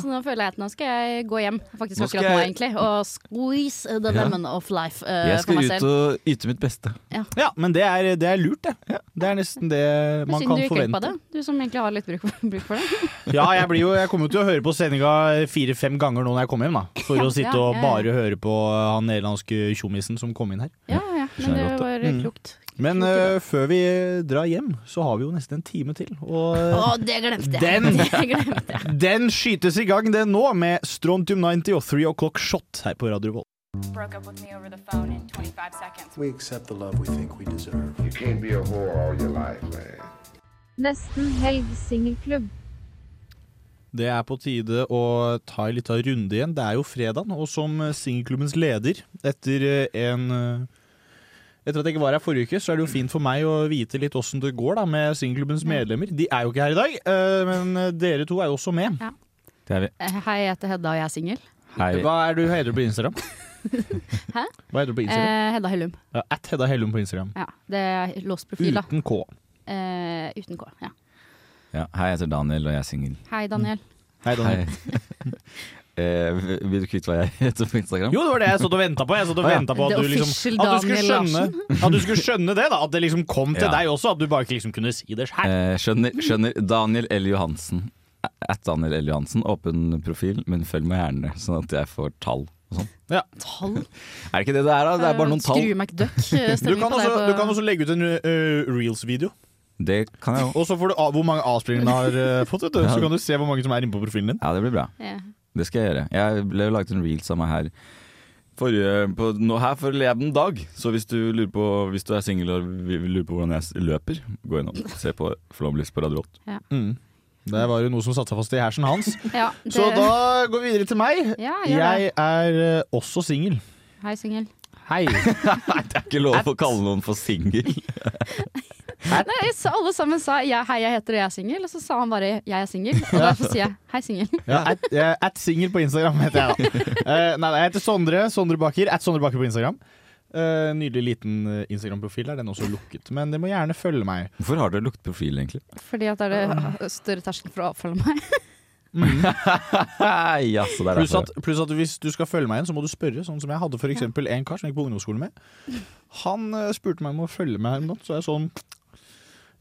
C: Så nå føler jeg at nå skal jeg gå hjem faktisk
D: Nå skal
C: akkurat nå,
D: jeg-
C: egentlig og squeeze the
D: Ja.
C: lemon of life eh,
D: Jeg
C: for
D: skal
C: meg
D: ut
C: selv.
D: og yte mitt beste.
C: Ja.
B: Ja, men det er, det er lurt, det. Det er nesten det eh, man
C: Synd
B: kan
C: du gikk glipp av det,
B: forvente.
C: du som egentlig har litt bruk for, bruk for det.
B: Ja, jeg, blir jo, jeg kommer jo til å høre på sendinga fire-fem ganger nå når jeg kommer hjem, da. For
C: Ja,
B: å sitte
C: ja,
B: og
C: ja, ja.
B: bare høre på han nederlandske tjommisen som kom inn her.
C: Ja, ja, men det
B: Skjønner godt
C: var
B: det. Mm.
C: klokt.
B: Men eh, før vi drar hjem, så har vi jo nesten en time til. Og eh,
C: Å, det glemte jeg!
B: Den-
C: Det glemte jeg.
B: den skytes i gang, den nå, med Strontium 90 og Three O'Clock Shot her på Radio Volt.
O: Broke up with me over the phone in 25 seconds.
P: We accept the love we think we deserve.
Q: You can't be a whore all your life, man.
R: Nesten helg singelklubb.
B: Det er på tide å ta en liten runde igjen. Det er jo fredag, og som eh, singelklubbens leder etter eh, en eh, Etter at jeg ikke var her forrige uke, så er det jo fint for meg å vite litt åssen det går da med singelklubbens medlemmer. De er jo ikke her i dag, eh, men eh, dere to er jo også med.
C: Ja.
D: Det er vi.
C: Eh, Hei, jeg heter Hedda, og jeg er singel.
D: Hei.
B: Hva er du, heter du på Instagram?
C: Hæ?
B: Hva heter du på Instagram?
C: Eh, Hedda Hellum.
B: Ja, At Hedda Hellum på Instagram.
C: Ja, det er låst profil, da.
B: Uten K.
C: Eh, uten K. Ja.
D: Ja, hei, jeg heter Daniel, og jeg er singel.
C: Hei, Daniel.
B: Hei, Daniel.
D: Eh, vil du kvitte hva jeg heter på Instagram?
B: Jo, det var det jeg satt og venta på. Jeg satt og
D: Å, ja.
B: ventet på at
D: The
B: du, liksom,
D: official
B: at, du skulle
D: Daniel
B: skjønne, at du skulle skjønne det, da. At det liksom kom til
D: Ja.
B: deg også. At du bare ikke liksom kunne si det sjæl.
D: Eh, skjønner, skjønner. Daniel L. Johansen. At Daniel L. Johansen. Åpen profil, men følg meg gjerne, sånn at jeg får tall og sånn.
C: Tall?
D: Er det ikke det det er, da? Det er bare noen tall.
C: Eh, Skru McDuck.
B: Du kan, også, du kan også legge ut en eh, reels-video.
D: Det kan jeg jo.
B: Og så får du av hvor mange avspillinger den har eh, fått. Vet du.
D: Ja.
B: Så kan du se hvor mange som er inne på profilen din.
D: Ja, det blir bra.
C: Ja.
D: Det skal jeg gjøre. Jeg ble jo laget en reel sammen her forrige, på, nå, her forleden dag. Så hvis du lurer på Hvis du er singel og vi- vi lurer på hvordan jeg s- løper, gå inn og se på Flåmlys på Radio Volt.
C: Ja.
B: Mm. Der var det noe som satte seg fast i hersen hans.
C: Ja, det-
B: Så da går vi videre til meg.
C: Ja, gjør det.
B: Jeg er eh, også singel.
C: Hei, singel.
B: Hei.
D: Nei, det er ikke lov å kalle noen for singel.
C: Nei, jeg sa- alle sammen sa ja, 'hei, jeg heter det, jeg er singel', og så sa han bare 'jeg er singel'. Og
B: Ja.
C: derfor sier jeg 'hei, singel'.
B: Ja, at, eh, at singel på Instagram heter jeg da. Eh, nei, nei, jeg heter Sondre. Sondre Bakker. At Sondre Bakker på Instagram. Eh, nydelig liten eh, Instagram-profil. Er den også lukket? Men det må gjerne følge meg.
D: Hvorfor har dere lukket profil, egentlig?
C: Fordi at det er det større terskel for å avfølge meg.
D: ja, så det altså, er
B: Pluss
D: derfor.
B: at, pluss at hvis du skal følge meg igjen, så må du spørre. Sånn som jeg hadde for eksempel en kar som jeg gikk på ungdomsskolen med. Han eh, spurte meg om å følge meg her om natten, så jeg sånn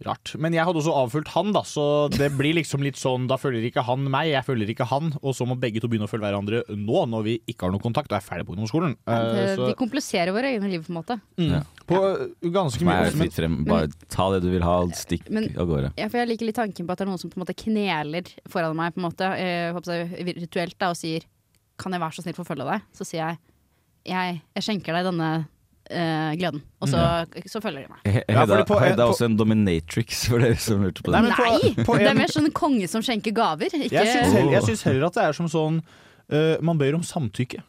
B: Rart. Men jeg hadde også avfulgt han, da, så det blir liksom litt sånn da følger ikke han meg, jeg følger ikke han, og så må begge to begynne å følge hverandre nå når vi ikke har noe kontakt og er ferdig på ungdomsskolen. Eh,
C: Det-
B: så-
C: De kompliserer våre egne liv, på en måte.
B: Mm. På uh, ganske
D: Som
B: mye
D: er
B: også, men-
D: fritt frem. Bare ta det du vil ha, og stikk
C: Men-
D: av gårde.
C: Ja, for jeg liker litt tanken på at det er noen som på en måte kneler foran meg, på en måte, eh, håper jeg, virtuelt, da, og sier 'kan jeg være så snill få følge deg'? Så sier jeg 'jeg, jeg skjenker deg denne eh, gløden', og så,
B: Mhm.
C: så følger de meg.
D: He-
B: Ja,
D: Hedda
B: fordi på-
D: Hedda
B: på-
D: er også en dominatrix, for dere som lurte på det.
C: Nei,
B: på- på
C: det er
B: en-
C: mer sånn konge som skjenker gaver. Ikke,
B: Jeg syns heller, jeg syns heller at det er som sånn eh, Man ber om samtykke.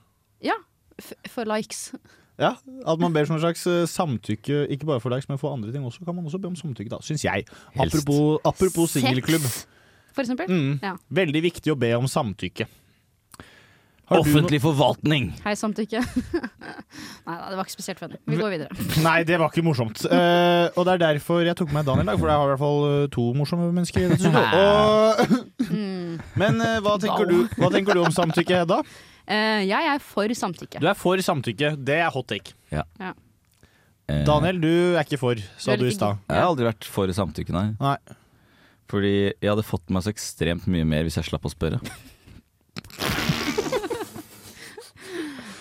C: Ja, f for likes.
B: Ja, At man ber som en slags eh, samtykke, ikke bare for likes, men for andre ting også. Kan man også be om samtykke, da, syns jeg. Apropos, apropos singelklubb.
C: For eksempel.
B: Mm.
C: Ja.
B: Veldig viktig å be om samtykke.
D: Offentlig forvaltning!
C: Hei, samtykke. Nei da, det var ikke spesielt funny. Vi
B: Mm.
C: går videre.
B: Nei, det var ikke morsomt. Eh, og det er derfor jeg tok med Daniel i dag, for jeg har i hvert fall eh, to morsomme mennesker. i dette studio. Og,
C: Mm.
B: men eh, hva, tenker du, hva tenker du om samtykke, Hedda?
C: Eh, jeg er for samtykke.
B: Du er for samtykke. Det er hot take.
C: Ja.
D: Eh,
B: Daniel, du er ikke for,
C: Du
B: sa
C: er
B: du i
C: litt
B: stad.
D: Jeg har aldri vært for samtykke, nei. Fordi jeg hadde fått meg så ekstremt mye mer hvis jeg slapp å spørre.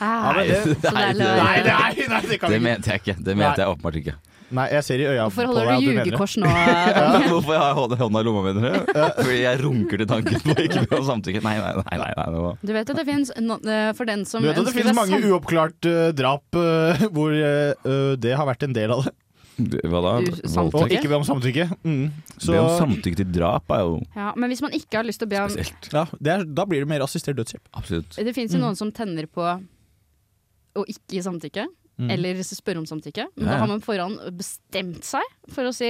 C: Ah, så det er løgn.
B: nei, nei, nei, det kan vi
D: det
B: ikke.
D: mente jeg ikke. Det mente jeg åpenbart ikke.
B: Nei, jeg ser i øya
C: Ah, Hvorfor
B: på
C: holder
B: deg
C: du
B: at mener det.
C: ljugekors nå? Daniel?
D: Hvorfor jeg har hånda- hånda i lomma, mener du? Fordi jeg runker til tanken på ikke å samtykke. Nei, nei, nei. nei, nei. det var-
C: Du vet at det finnes no, eh, For den som
B: Du vet at det
C: ønsker
B: finnes
C: seg
B: mange
C: sam-
B: uoppklart eh, drap eh, hvor eh, eh, det har vært en del av det.
D: Hva da?
C: Du- samtykke?
B: Og ikke be om samtykke. Mm. Så-
D: Det om samtykke til drap er jo
C: ja, Men hvis man ikke har lyst til å be om
D: spesielt.
B: Ja, det er, da blir det mer assistert dødshjelp.
D: Absolutt.
C: Det finnes jo noen som tenner på å ikke gi samtykke,
D: Mm.
C: eller spørre om samtykke. Men
D: Ja, ja.
C: da har man forhånd bestemt seg for å si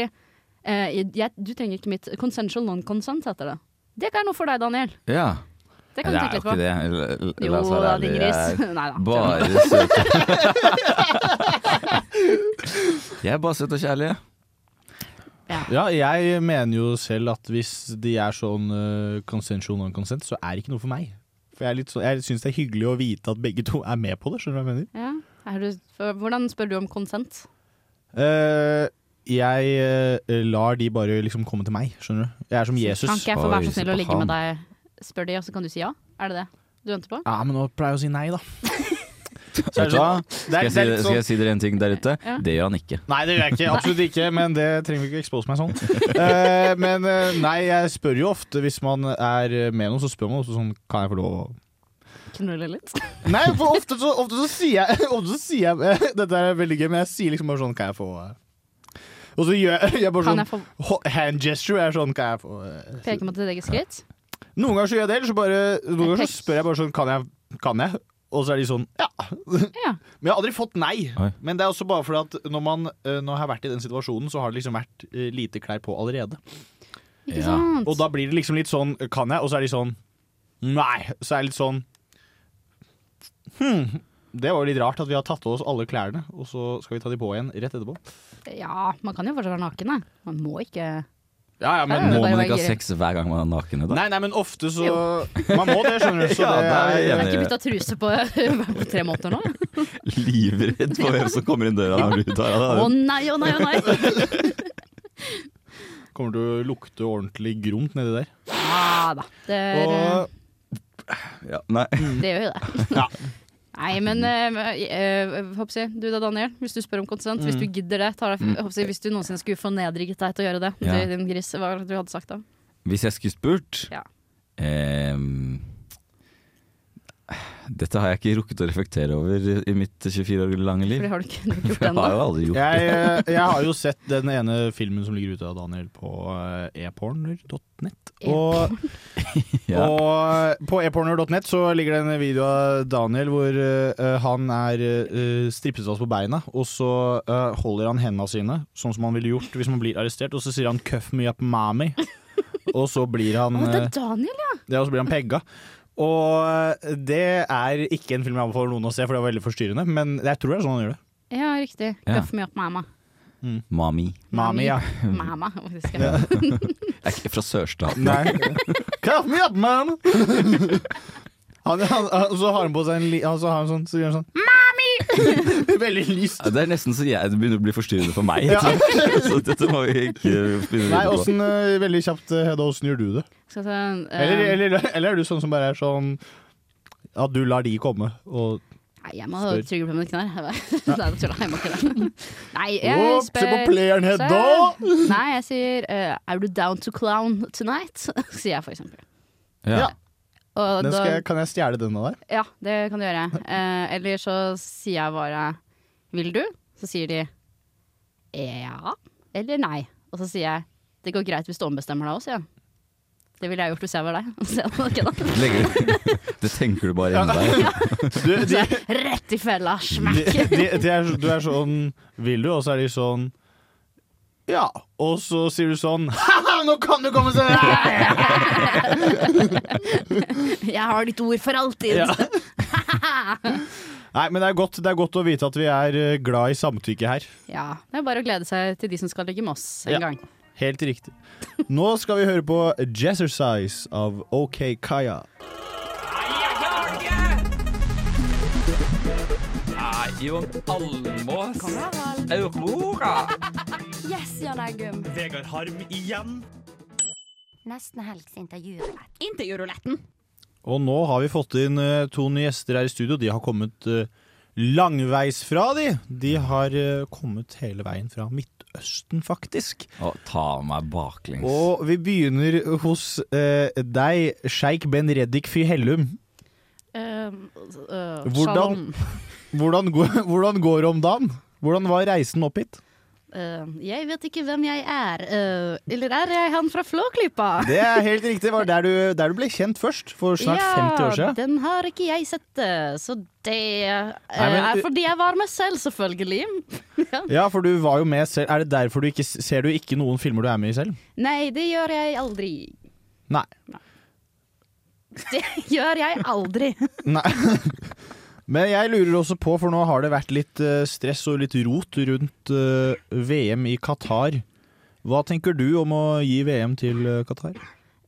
C: eh, jeg, Du trenger ikke mitt consensual non-consent, heter det. Det ikke er noe for deg, Daniel.
D: Ja.
C: Det kan du
D: Nei,
C: tenke litt
D: er
C: på.
D: jo ikke det.
C: Jo
D: La oss være
C: da,
D: ærlige.
C: din
D: Jeg
C: gris.
D: er
C: Nei da.
D: Bare søt.
B: Jeg er bare søt og kjærlig.
C: Ja.
B: jeg mener jo selv at hvis de er sånn uh, consensual non-consent, så er det ikke noe for meg. For jeg, er litt sånn- jeg syns det er hyggelig å vite at begge to er med på det, skjønner du hva jeg mener?
C: Ja. Er du, for, hvordan spør du om consent?
B: Eh, jeg eh, lar de bare liksom komme til meg, skjønner du. Jeg er som Jesus.
C: Kan ikke jeg få være så snill å ligge med deg? Spør de, og så kan du si ja? Er det det du venter på?
B: Ja, men nå pleier jeg å si nei, da. Så er
D: Vet
B: det
D: du hva?
B: sånn- det er-
D: Skal jeg,
B: det
D: si,
B: er litt
D: skal jeg
B: sånn-
D: si dere en ting der ute?
C: Ja.
D: Det gjør han ikke.
B: Nei, det gjør jeg ikke. Absolutt ikke. Men det trenger vi ikke expose meg sånn. Eh, men eh, nei, jeg spør jo ofte hvis man er med noen, så spør man også sånn Kan jeg få lov å
C: Knulle litt?
B: Nei, for ofte så, ofte så sier jeg Ofte så sier jeg eh, Dette er veldig gøy, men jeg sier liksom bare sånn Kan jeg få eh?» Og så gjør jeg, jeg bare
C: Kan
B: sånn
C: jeg få
B: ho- Hand gesture er sånn Kan jeg få eh?»
C: peke mot ditt eget skritt?
B: Noen ganger så gjør jeg det, eller så bare Noen ganger så spør jeg bare sånn Kan jeg? Kan jeg? Og så er de sånn ja. Men jeg har aldri fått nei.
D: Oi.
B: Men det er også bare fordi at når man eh, Når jeg har vært i den situasjonen, så har det liksom vært eh, lite klær på allerede.
C: Ikke sant?
B: Og da blir det liksom litt sånn Kan jeg? Og så er de sånn Nei. Så er det litt sånn Hm. Det var jo litt rart at vi har tatt av oss alle klærne, og så skal vi ta de på igjen rett etterpå.
C: Ja, man kan jo fortsatt være naken, da. Man må ikke
B: Ja, ja,
D: Men
B: men
D: må
C: bare
D: man
C: være
D: ikke ha
C: gira.
D: sex hver gang man er naken? Da?
B: Nei, nei, men ofte så Man må det, skjønner du. Så
D: Ja,
B: det
D: nei,
B: er
D: jeg
C: Jeg har
D: er
C: ikke bytta truse på, på tre måneder nå. jeg.
D: livredd for hvem som kommer inn døra og ut her.
C: Å nei, å nei, å nei!
B: Kommer til å lukte ordentlig gromt nedi der.
C: Ja Ah, da. Det, er, eh,
B: Og
D: Ja, nei.
C: det gjør jo det.
B: Ja.
C: Nei, men eh, eh, håper jeg, du da, Daniel. Hvis du spør om konsent, hvis du gidder det tar deg,
D: Mm.
C: håper jeg, Hvis du noensinne skulle fornedriget deg til å gjøre det,
D: Ja.
C: du, din gris, hva var det du hadde sagt da?
D: Hvis jeg skulle spurt
C: Ja.
D: ehm, Dette har jeg ikke rukket å reflektere over i mitt 24 år lange liv.
C: For det har du ikke- du har ikke gjort ennå.
D: Jeg har jo aldri gjort
B: jeg,
D: det.
B: eh, jeg har jo sett den ene filmen som ligger ute av Daniel på eh, eporner.net. Og,
D: Ja.
B: og på eporner.net så ligger det en video av Daniel hvor eh, han er uh, strippesvans på beina, og så eh, holder han hendene sine, sånn som han ville gjort hvis man blir arrestert, og så sier han 'cuff me up, mommy'. Og så blir han
C: Å, det
B: eh,
C: er Daniel, ja!
B: ja, og så blir han pegga. Og eh, det er ikke en film jeg anbefaler noen å se, for det var veldig forstyrrende, men jeg tror det er sånn han gjør det.
C: Ja, riktig.
D: Ja.
C: Gaff meg opp, mamma.
D: Mami.
B: Mami, ja.
C: Mamma, faktisk. Ja.
D: Jeg er ikke fra sørstaten.
B: Nei. Cuff me up, man! Han, han, han, så har han på seg en li... Han, så har han sånn, så gjør han sånn Veldig lyst.
D: Det er nesten så jeg det begynner å bli forstyrrende for meg.
B: Ja.
D: Så dette må vi ikke
B: Nei,
D: begynne videre på.
B: åssen eh, Veldig kjapt, eh, Hedda, åssen gjør du det?
C: Skal jeg ta en, eh,
B: Eller, eller, eller er du sånn som bare er sånn At du lar de komme og
C: Nei, jeg må
B: Spør.
C: trygge meg med knær. Nei, da tuller jeg. Jeg må ikke det. Nei, jeg
B: Ops, se på
C: spør-
B: playeren, Hedda!
C: Så- Nei, jeg sier eh, 'Er du down to clown tonight?' sier jeg for eksempel.
B: Ja.
C: Og
B: Den
C: da,
B: skal, jeg- kan jeg stjele den av deg?
C: ja, det kan du gjøre. Eh, eller så sier jeg bare 'Vil du?' Så sier de ja eller nei. Og så sier jeg 'Det går greit hvis du ombestemmer deg òg', sier jeg. Det ville jeg gjort hvis jeg var deg. Og så sier jeg, «Ok da».
D: Legger. Det tenker du bare inni deg.
B: Du, de,
C: Rett i fella,
B: de,
C: smekk!
B: de, de er, du er sånn Vil du? Og så er de sånn Ja. Og så sier du sånn Haha, nå kan du komme sånn!
C: Jeg har ditt ord for alltid!
B: Ja. Nei, men det er, godt, det er godt å vite at vi er eh, glad i samtykke her.
C: Ja, det er bare å glede seg til de som skal ligge med oss en
B: Ja.
C: gang.
B: Helt riktig. Nå skal vi høre på Jazzercise av OK Kaya.
S: Yes, Jan Eggum.
T: Vegard Harm igjen.
S: Nesten helgs intervjurulett. Intervjuruletten.
B: Og nå har vi fått inn eh, to nye gjester her i studio. De har kommet eh, langveisfra, de. De har eh, kommet hele veien fra Midtøsten, faktisk.
D: Å, ta meg baklengs.
B: Og vi begynner hos eh, deg, sjeik Ben Reddik Fy Hellum.
C: Eh,
B: Hvordan, hvordan, går, hvordan går det om dagen? Hvordan var reisen opp hit?
C: Eh, jeg vet ikke hvem jeg er. Eh, eller er jeg han fra Flåklypa?
B: Det er helt riktig. Det var der du, der du ble kjent først, for snart 50 år
C: Ja,
B: siden.
C: den har ikke jeg sett, eh, så det eh,
B: Nei, men-
C: er fordi jeg var meg selv, selvfølgelig.
B: Ja, for du var jo med selv. Er det derfor du ikke ser du ikke noen filmer du er med i selv?
C: Nei, det gjør jeg aldri.
B: Nei.
C: Det gjør jeg aldri.
B: Nei. Men jeg lurer også på, for nå har det vært litt eh, stress og litt rot rundt eh, VM i Qatar. Hva tenker du om å gi VM til eh, Qatar?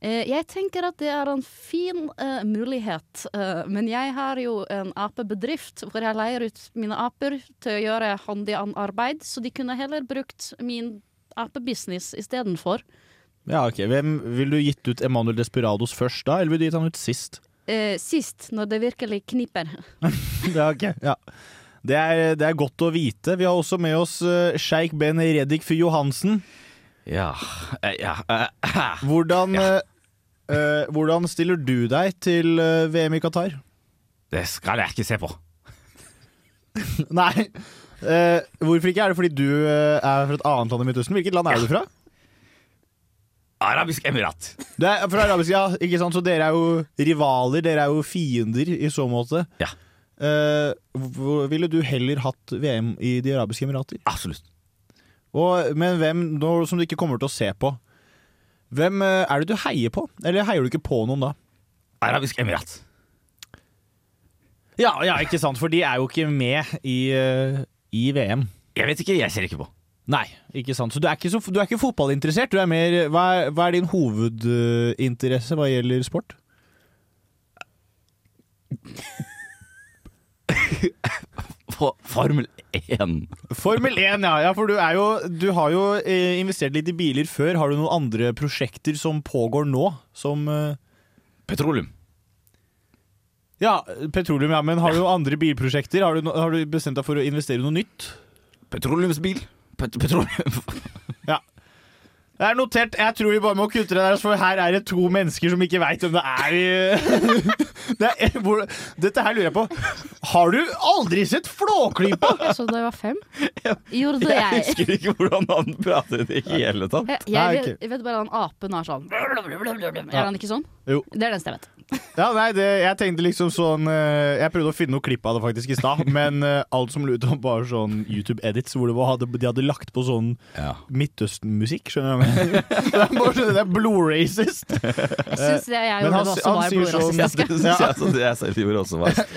C: Eh, jeg tenker at det er en fin eh, mulighet, eh, men jeg har jo en apebedrift hvor jeg leier ut mine aper til å gjøre hånd i annet arbeid, så de kunne heller brukt min apebusiness istedenfor.
B: Ja, ok. Hvem Vil du gitt ut Emanuel Desperados først da, eller vil du gitt han ut sist?
C: Eh, sist, når det virkelig kniper.
B: Det er, ok, ja. det, er, det er godt å vite. Vi har også med oss uh, sjeik Ben Reddik Fy Johansen.
D: Ja, eh, ja.
B: Hvordan, eh, eh, hvordan stiller du deg til eh, VM i Qatar?
D: Det skal jeg ikke se på.
B: Nei. Eh, hvorfor ikke? Er det fordi du eh, er fra et annet land i Midtøsten? Hvilket land er du fra?
D: Arabisk emirat.
B: Du er fra arabisk, ja, ikke sant? Så dere er jo rivaler, dere er jo fiender i så måte.
D: Ja.
B: Eh, hvor- ville du heller hatt VM i De arabiske emirater?
D: Absolutt.
B: Og, men hvem, nå som du ikke kommer til å se på, hvem eh, er det du heier på? Eller heier du ikke på noen da?
D: Arabisk emirat.
B: Ja, ja, ikke sant, for de er jo ikke med i, eh, i VM.
D: Jeg vet ikke, jeg ser ikke på.
B: Nei, ikke sant. Så du er ikke, så, du er ikke fotballinteressert. Du er mer, hva, er, hva er din hovedinteresse hva gjelder sport?
D: For, Formel 1.
B: Formel 1, ja. ja for du, er jo, du har jo eh, investert litt i biler før. Har du noen andre prosjekter som pågår nå? Som eh,
D: Petroleum.
B: Ja, petroleum, ja. Men har du noen andre bilprosjekter? Har du, no- har du bestemt deg for å investere i noe nytt?
D: Petroleumsbil. Pet petroleum.
B: Ja. Det er notert. Jeg tror vi bare må kutte det der, for her er det to mennesker som ikke veit hvem det er. i- det er hvor, dette her lurer jeg på. Har du aldri sett Flåklypa?
C: Jeg så da jeg var fem. Gjorde det
D: Jeg
C: jeg.
D: husker ikke hvordan han prater i det hele tatt.
C: Jeg, jeg, vet, jeg vet bare at den apen er sånn Er han ikke sånn?
B: Jo.
C: Det er det eneste jeg vet.
B: Ja, nei, det, jeg tenkte liksom sånn eh, Jeg prøvde å finne noe klipp av det faktisk i stad, men eh, alt som lurte om bare sånn YouTube-edits hvor det var, hadde, de hadde lagt på sånn Midtøsten-musikk, skjønner du? hva jeg mener? det er bare sånn, det er blod-racist.
C: Jeg syns det jeg gjorde også var
D: Det
C: blodrasistisk.
D: synes jeg, så det jeg selv gjorde også var
C: Jeg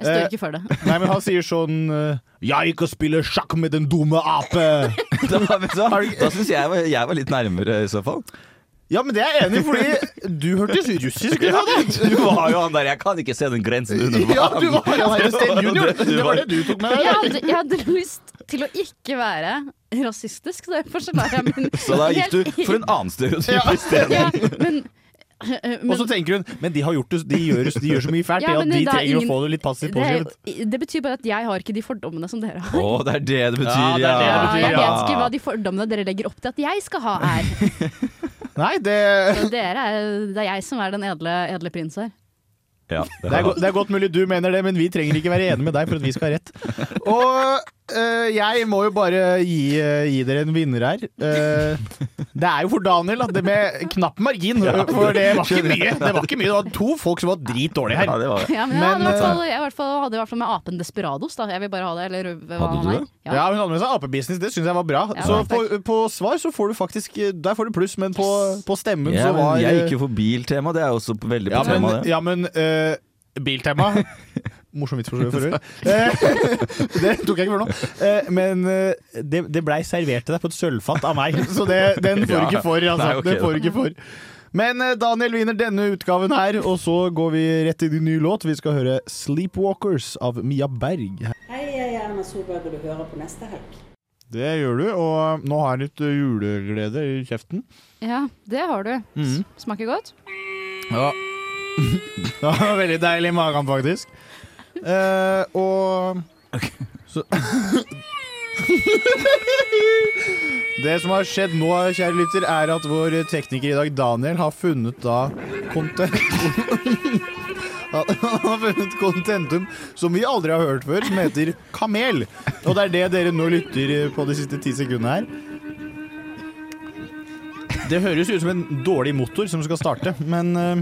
C: står ikke for det.
B: Nei, men han sier sånn eh, Jeg ikke spiller sjakk med den dumme ape!
D: Da, vet du hva? da syns jeg var, jeg var litt nærmere i så fall.
B: Ja, men det er jeg enig i, fordi du hørtes russisk ut av det!
D: Du var jo han der 'jeg kan ikke se den grensen under vann'.
B: Ja, du var jo han der, Sten Junior.
D: Det var det du
B: Det var
D: var.
B: det du tok med
C: Jeg hadde, jeg hadde lyst til å ikke være rasistisk, så derfor så lar jeg min
D: Så da gikk du for en annen stereotyp isteden.
C: Ja, men, men
B: Og så tenker hun Men de, har gjort det, de, gjør, de gjør så mye fælt,
C: Ja,
B: ja,
C: men
B: de
C: det er
B: trenger
C: ingen-
B: å få det litt passivt
C: det, er-
B: påskrevet.
C: det betyr bare at jeg har ikke de fordommene som dere har.
D: Å, det er det det betyr,
B: Ja, det er det det betyr,
C: Jeg
B: ja.
C: vet ikke hva de fordommene dere legger opp til at jeg skal ha her.
B: Nei, det
C: Så dere er, det er jeg som er den edle, edle prins her.
D: Ja,
B: Det er, go det er godt mulig du mener det, men vi trenger ikke være enige med deg for at vi skal ha rett. Og øh, jeg må jo bare gi, øh, gi dere en vinner her. Eh, det er jo for Daniel, da. Det med knapp margin. for det var ikke mye. Det var ikke mye, det var to folk som var dritdårlige her.
D: Ja, det var det.
C: Ja, men, jeg hadde i
B: Men,
C: hvert fall,
B: eh,
C: jeg i hvert fall, hadde i hvert fall med apen Desperados, da. Jeg vil bare ha det. Eller hva
D: Hadde
C: han
D: du
C: er.
D: det?
B: ja. hun hadde med seg apebusiness. Det syns jeg var bra.
C: Ja,
B: så
C: takk.
B: på, på svar så får du faktisk eh, Der får du pluss, men på, på stemmen
D: Ja,
B: så
D: men
B: var eh,
D: jeg gikk jo for biltema, det er også veldig
B: Ja,
D: på
B: men,
D: tema, det.
B: ja, men eh, Biltema Morsom vits for så vidt for øvrig. Eh, det tok jeg ikke før nå. Eh, men eh, det, det blei servert til deg på et sølvfat av meg, så det, den får du
D: Ja.
B: ikke for. Altså.
D: Nei, ok,
B: den får du
D: da.
B: ikke for. Men eh, Daniel vinner denne utgaven her, og så går vi rett til din nye låt. Vi skal høre 'Sleepwalkers' av Mia Berg.
U: Hei, jeg er Erna Solberg, og du hører på neste helg.
B: Det gjør du, og nå har jeg litt juleglede i kjeften.
C: Ja, det har du.
D: Mm.
C: S- Smaker godt.
B: Ja. det var veldig deilig i magen, faktisk. Eh, og så Det som har skjedd nå, kjære lytter, er at vår tekniker i dag, Daniel, har funnet da konten Han han har funnet kontentum som vi aldri har hørt før, som heter kamel. Og det er det dere nå lytter på de siste ti sekundene her. Det høres ut som en dårlig motor som skal starte, men eh,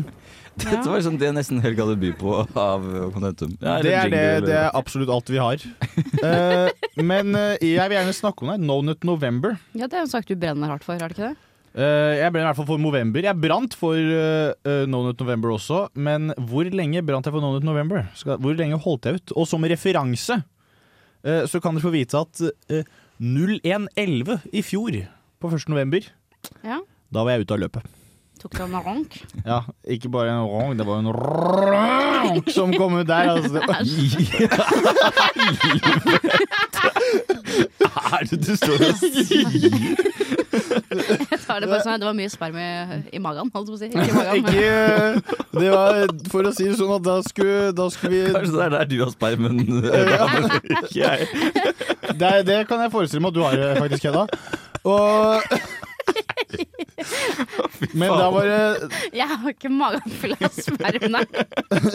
D: Dette var liksom det nesten Helg hadde by på av Contentum.
B: det,
D: Ja, eller
B: er det,
D: jingle,
B: det
D: eller-
B: er absolutt alt vi har. Eh, men eh, jeg vil gjerne snakke om det. No Nut November.
C: Ja, det er jo en sak du brenner hardt for, er det ikke det?
B: Eh, jeg ble i hvert fall for November. Jeg brant for eh, eh, No Nut November også, men hvor lenge brant jeg for No Nut November? Skal, hvor lenge holdt jeg ut? Og som referanse eh, så kan dere få vite at eh, 01.11 i fjor, på 1. november,
C: Ja.
B: da var jeg ute av løpet.
C: Tok deg en rank.
B: Ja, ikke bare en rong, det var en ronk som kom ut der. Altså.
D: Hva er det du står og sier?
C: Jeg tar det bare sånn at det var mye sperm i, i magen, holdt jeg på å si. Ikke i magen, men-
B: Ikke, eh, det var for å si det sånn at da skulle, da skulle vi
D: Kanskje det er der du har spermen? Ikke jeg.
B: det, er- det kan jeg forestille meg at du har eh, faktisk, Hedda. Og Men da var det
C: Jeg har ikke magen full av sperm, nei. Jeg tenkte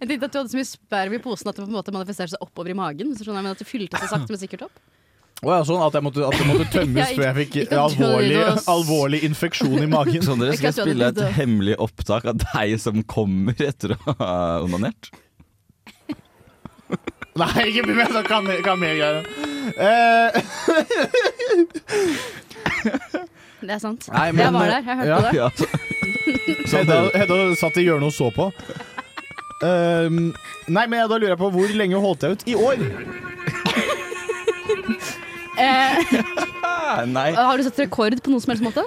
C: at du hadde så mye sperm i posen at det på en måte manifesterte seg oppover i magen. Så skjønner jeg, men at det fylte seg sakte, men sikkert opp.
B: Å ja, sånn at jeg måtte, at det måtte
C: Ja,
B: tømmes
C: ikke-
B: før jeg fikk
C: ikke at du hadde
B: alvorlig,
C: noe s-
B: alvorlig infeksjon i magen.
D: Sånn dere
C: Ikke at du
D: skal
C: hadde
D: spille et
C: prøvd å-
D: hemmelig opptak av deg som kommer etter å ha onanert?
B: Nei, ikke bli med sånn kamel- kamelgreier. Eh,
C: Det er sant.
B: Nei, men-
C: jeg var der, jeg hørte
B: Ja.
C: det.
B: Ja. Hedda, Hedda satt i hjørnet og så på. Um, nei, men da lurer jeg på hvor lenge holdt jeg ut? I år!
C: Eh,
D: Nei.
C: har du satt rekord på noen som helst måte?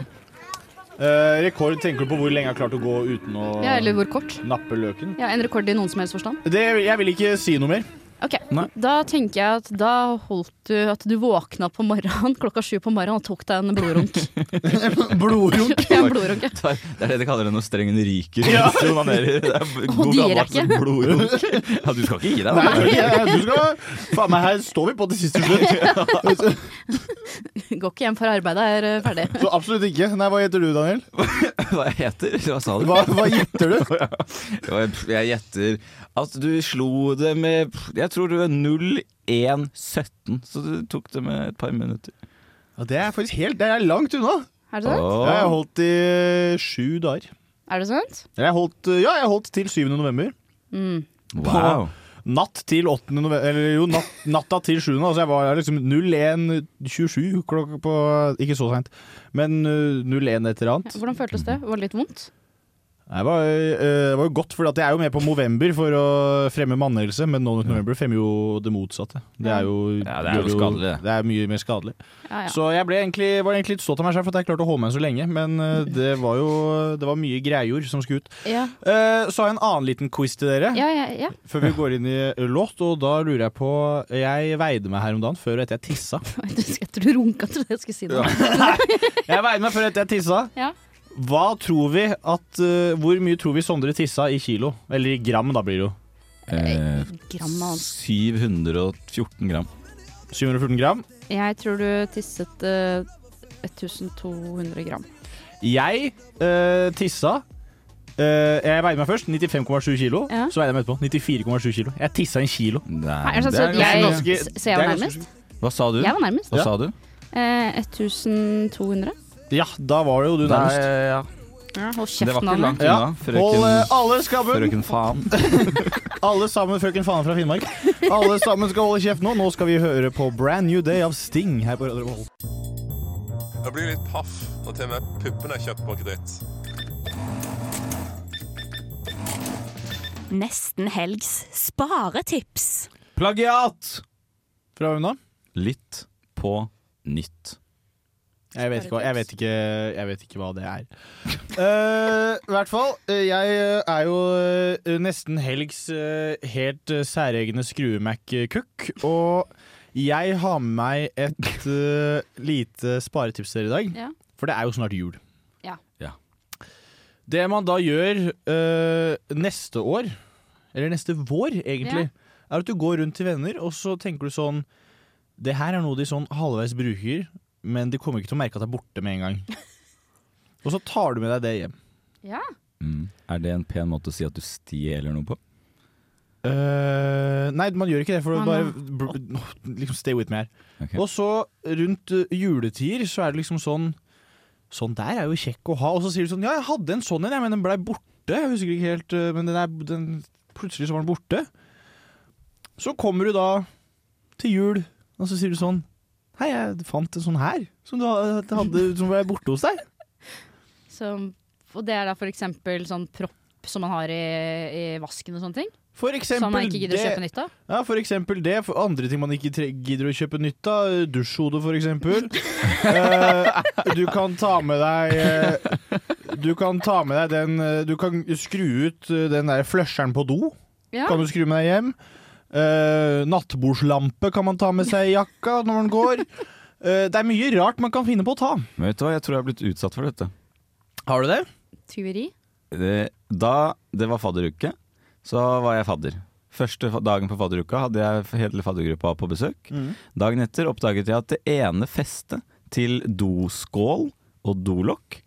B: Eh, rekord tenker du på hvor lenge jeg har klart å gå uten å
C: Ja, eller hvor kort?
B: nappe løken?
C: Ja, En rekord i noen som helst forstand?
B: Det, jeg vil ikke si noe mer.
C: Ok,
B: Nei.
C: Da tenker jeg at da holdt du at du våkna på morgenen klokka sju på morgenen og tok deg en blodrunk.
B: Blodrunk?
C: ja, en blodrunk. ja.
D: Det er det de kaller det når strengen ryker.
C: Ja.
D: mens du onanerer. Det er
C: Og
D: god
C: de gir
D: gammeldags
C: deg ikke.
D: blodrunk. Ja, du skal ikke gi deg.
B: Nei,
D: da.
B: jeg tror ikke jeg- du skal Faen meg, her står vi på til siste slutt.
C: Går ikke hjem for arbeidet, jeg er eh, ferdig.
B: Så absolutt ikke. Nei, hva heter du, Daniel?
D: Hva jeg heter? Hva sa du?
B: Hva, hva gjetter du?
D: Ja, jeg- Jeg gjetter at du slo det med Jeg tror du er 0-1-17, så du tok det med et par minutter.
B: Ja, det er faktisk helt Det er langt unna.
C: Er det
B: Ja,
C: sant?
B: Jeg har holdt i eh, sju dager.
C: Er det sant?
B: Jeg holdt, eh, ja, jeg holdt til 7. november.
C: Mm.
D: Wow.
B: På natt til 8. november Eller jo, natt, natta til 7. Altså jeg var liksom 01.27 klokka på Ikke så seint, men eh, 01 et eller
C: Ja,
B: annet.
C: Hvordan føltes det? Var det litt vondt?
B: Det var, eh, det var jo godt, for jeg er jo med på Movember for å fremme mannhelse, men No Nut November fremmer jo det motsatte. Det er jo,
D: Ja, det er jo
B: gjør
D: skadelig, det.
B: Det er mye mer skadelig.
C: Ja, ja.
B: Så jeg ble egentlig, var egentlig litt stolt av meg selv for at jeg klarte å holde meg så lenge, men eh, det var jo det var mye greier som skulle ut.
C: Ja.
B: Eh, Så har jeg en annen liten quiz til dere.
C: Ja, ja, ja.
B: Før vi går inn i låt, og da lurer jeg på Jeg veide meg her om dagen før og etter jeg tissa.
C: Jeg tror du runka til det jeg skulle si noe.
B: Jeg veide meg før og etter jeg tissa.
C: Ja.
B: Hva tror vi at eh, Hvor mye tror vi Sondre tissa i kilo? Eller i gram, da blir det jo.
D: Eh,
C: Gram av hans.
D: 714 gram.
B: 714 gram.
C: Jeg tror du tisset eh, 1200 gram.
B: Jeg eh, tissa eh, Jeg veide meg først, 95,7 kilo.
C: Ja.
B: Så veide jeg meg etterpå, 94,7 kilo. Jeg tissa en kilo.
C: Nei, er det sånn at jeg- s- så jeg var
B: det er ganske-
C: nærmest?
D: Hva sa du?
C: Jeg var nærmest.
D: Hva
C: Ja.
D: sa du?
C: Eh, 1200?
B: Ja, da var det jo du
D: Nei,
B: nærmest.
D: ja.
C: Ja, hold kjeften
D: Det var ikke
C: Anne.
D: langt unna. Frøken,
B: Hold eh, alle skammen.
D: frøken faen.
B: Alle sammen, frøken Fane fra Finnmark. Alle sammen skal holde kjeft nå. Nå skal vi høre på Brand New Day av Sting her på Radio Revolt.
V: Jeg blir litt paff når til og med puppene er kjøpt på kreditt.
L: Nesten helgs sparetips.
B: Plagiat! Fra hvem da?
D: Litt på nytt.
B: Jeg vet ikke, hva- jeg vet ikke, jeg vet ikke hva det er. Eh, I hvert fall. eh, Jeg eh, er jo eh, nesten helgs eh, helt eh, særegne skrue-Mac-kukk. Og jeg har med meg et eh, lite sparetips til dere i dag.
C: Ja.
B: For det er jo snart jul.
C: Ja.
B: Det man da gjør øh, neste år, eller neste vår egentlig, er at du går rundt til venner, og så tenker du sånn Det her er noe de sånn halvveis bruker, men de kommer ikke til å merke at det er borte med en gang. og så tar du med deg det hjem.
C: Ja.
D: Mm. Er det en pen måte å si at du stjeler noe på?
B: Eh, nei, man gjør ikke det, for
T: Å,
B: det bare
T: nei.
B: br- br- liksom Stay with me her. Og så rundt eh, juletider så er det liksom sånn Sånn der er jo kjekk å ha. Og så sier du sånn Ja, jeg hadde en sånn en, jeg, men den blei borte. Jeg husker ikke helt, eh, men den er den, Plutselig så var den borte. Så kommer du da til jul, og så sier du sånn Hei, jeg fant en sånn her, som du ha- hadde Som ble borte hos deg.
C: Som, og det er da for eksempel sånn propp som man har i, i vasken og sånne ting?
B: For eksempel
C: som man ikke gidder å
B: det-
C: kjøpe nytt av?
B: Ja, for eksempel det. For andre ting man ikke tre- gidder å kjøpe nytt av. Dusjhode, for eksempel. Eh, du kan ta med deg eh, Du kan ta med deg den eh, Du kan skru ut eh, den der flusheren på do.
T: Ja.
B: Kan du skru med deg hjem. Eh, nattbordslampe kan man ta med seg i jakka når man går. Eh, det er mye rart man kan finne på å ta.
D: Men vet du hva, jeg tror jeg har blitt utsatt for dette.
B: Har du det?
C: Tyveri?
D: Eh, Da det var fadderuke, så var jeg fadder. Første fa- dagen på fadderuka hadde jeg hele faddergruppa på besøk.
T: Mhm.
D: Dagen etter oppdaget jeg at det ene festet til doskål og dolokk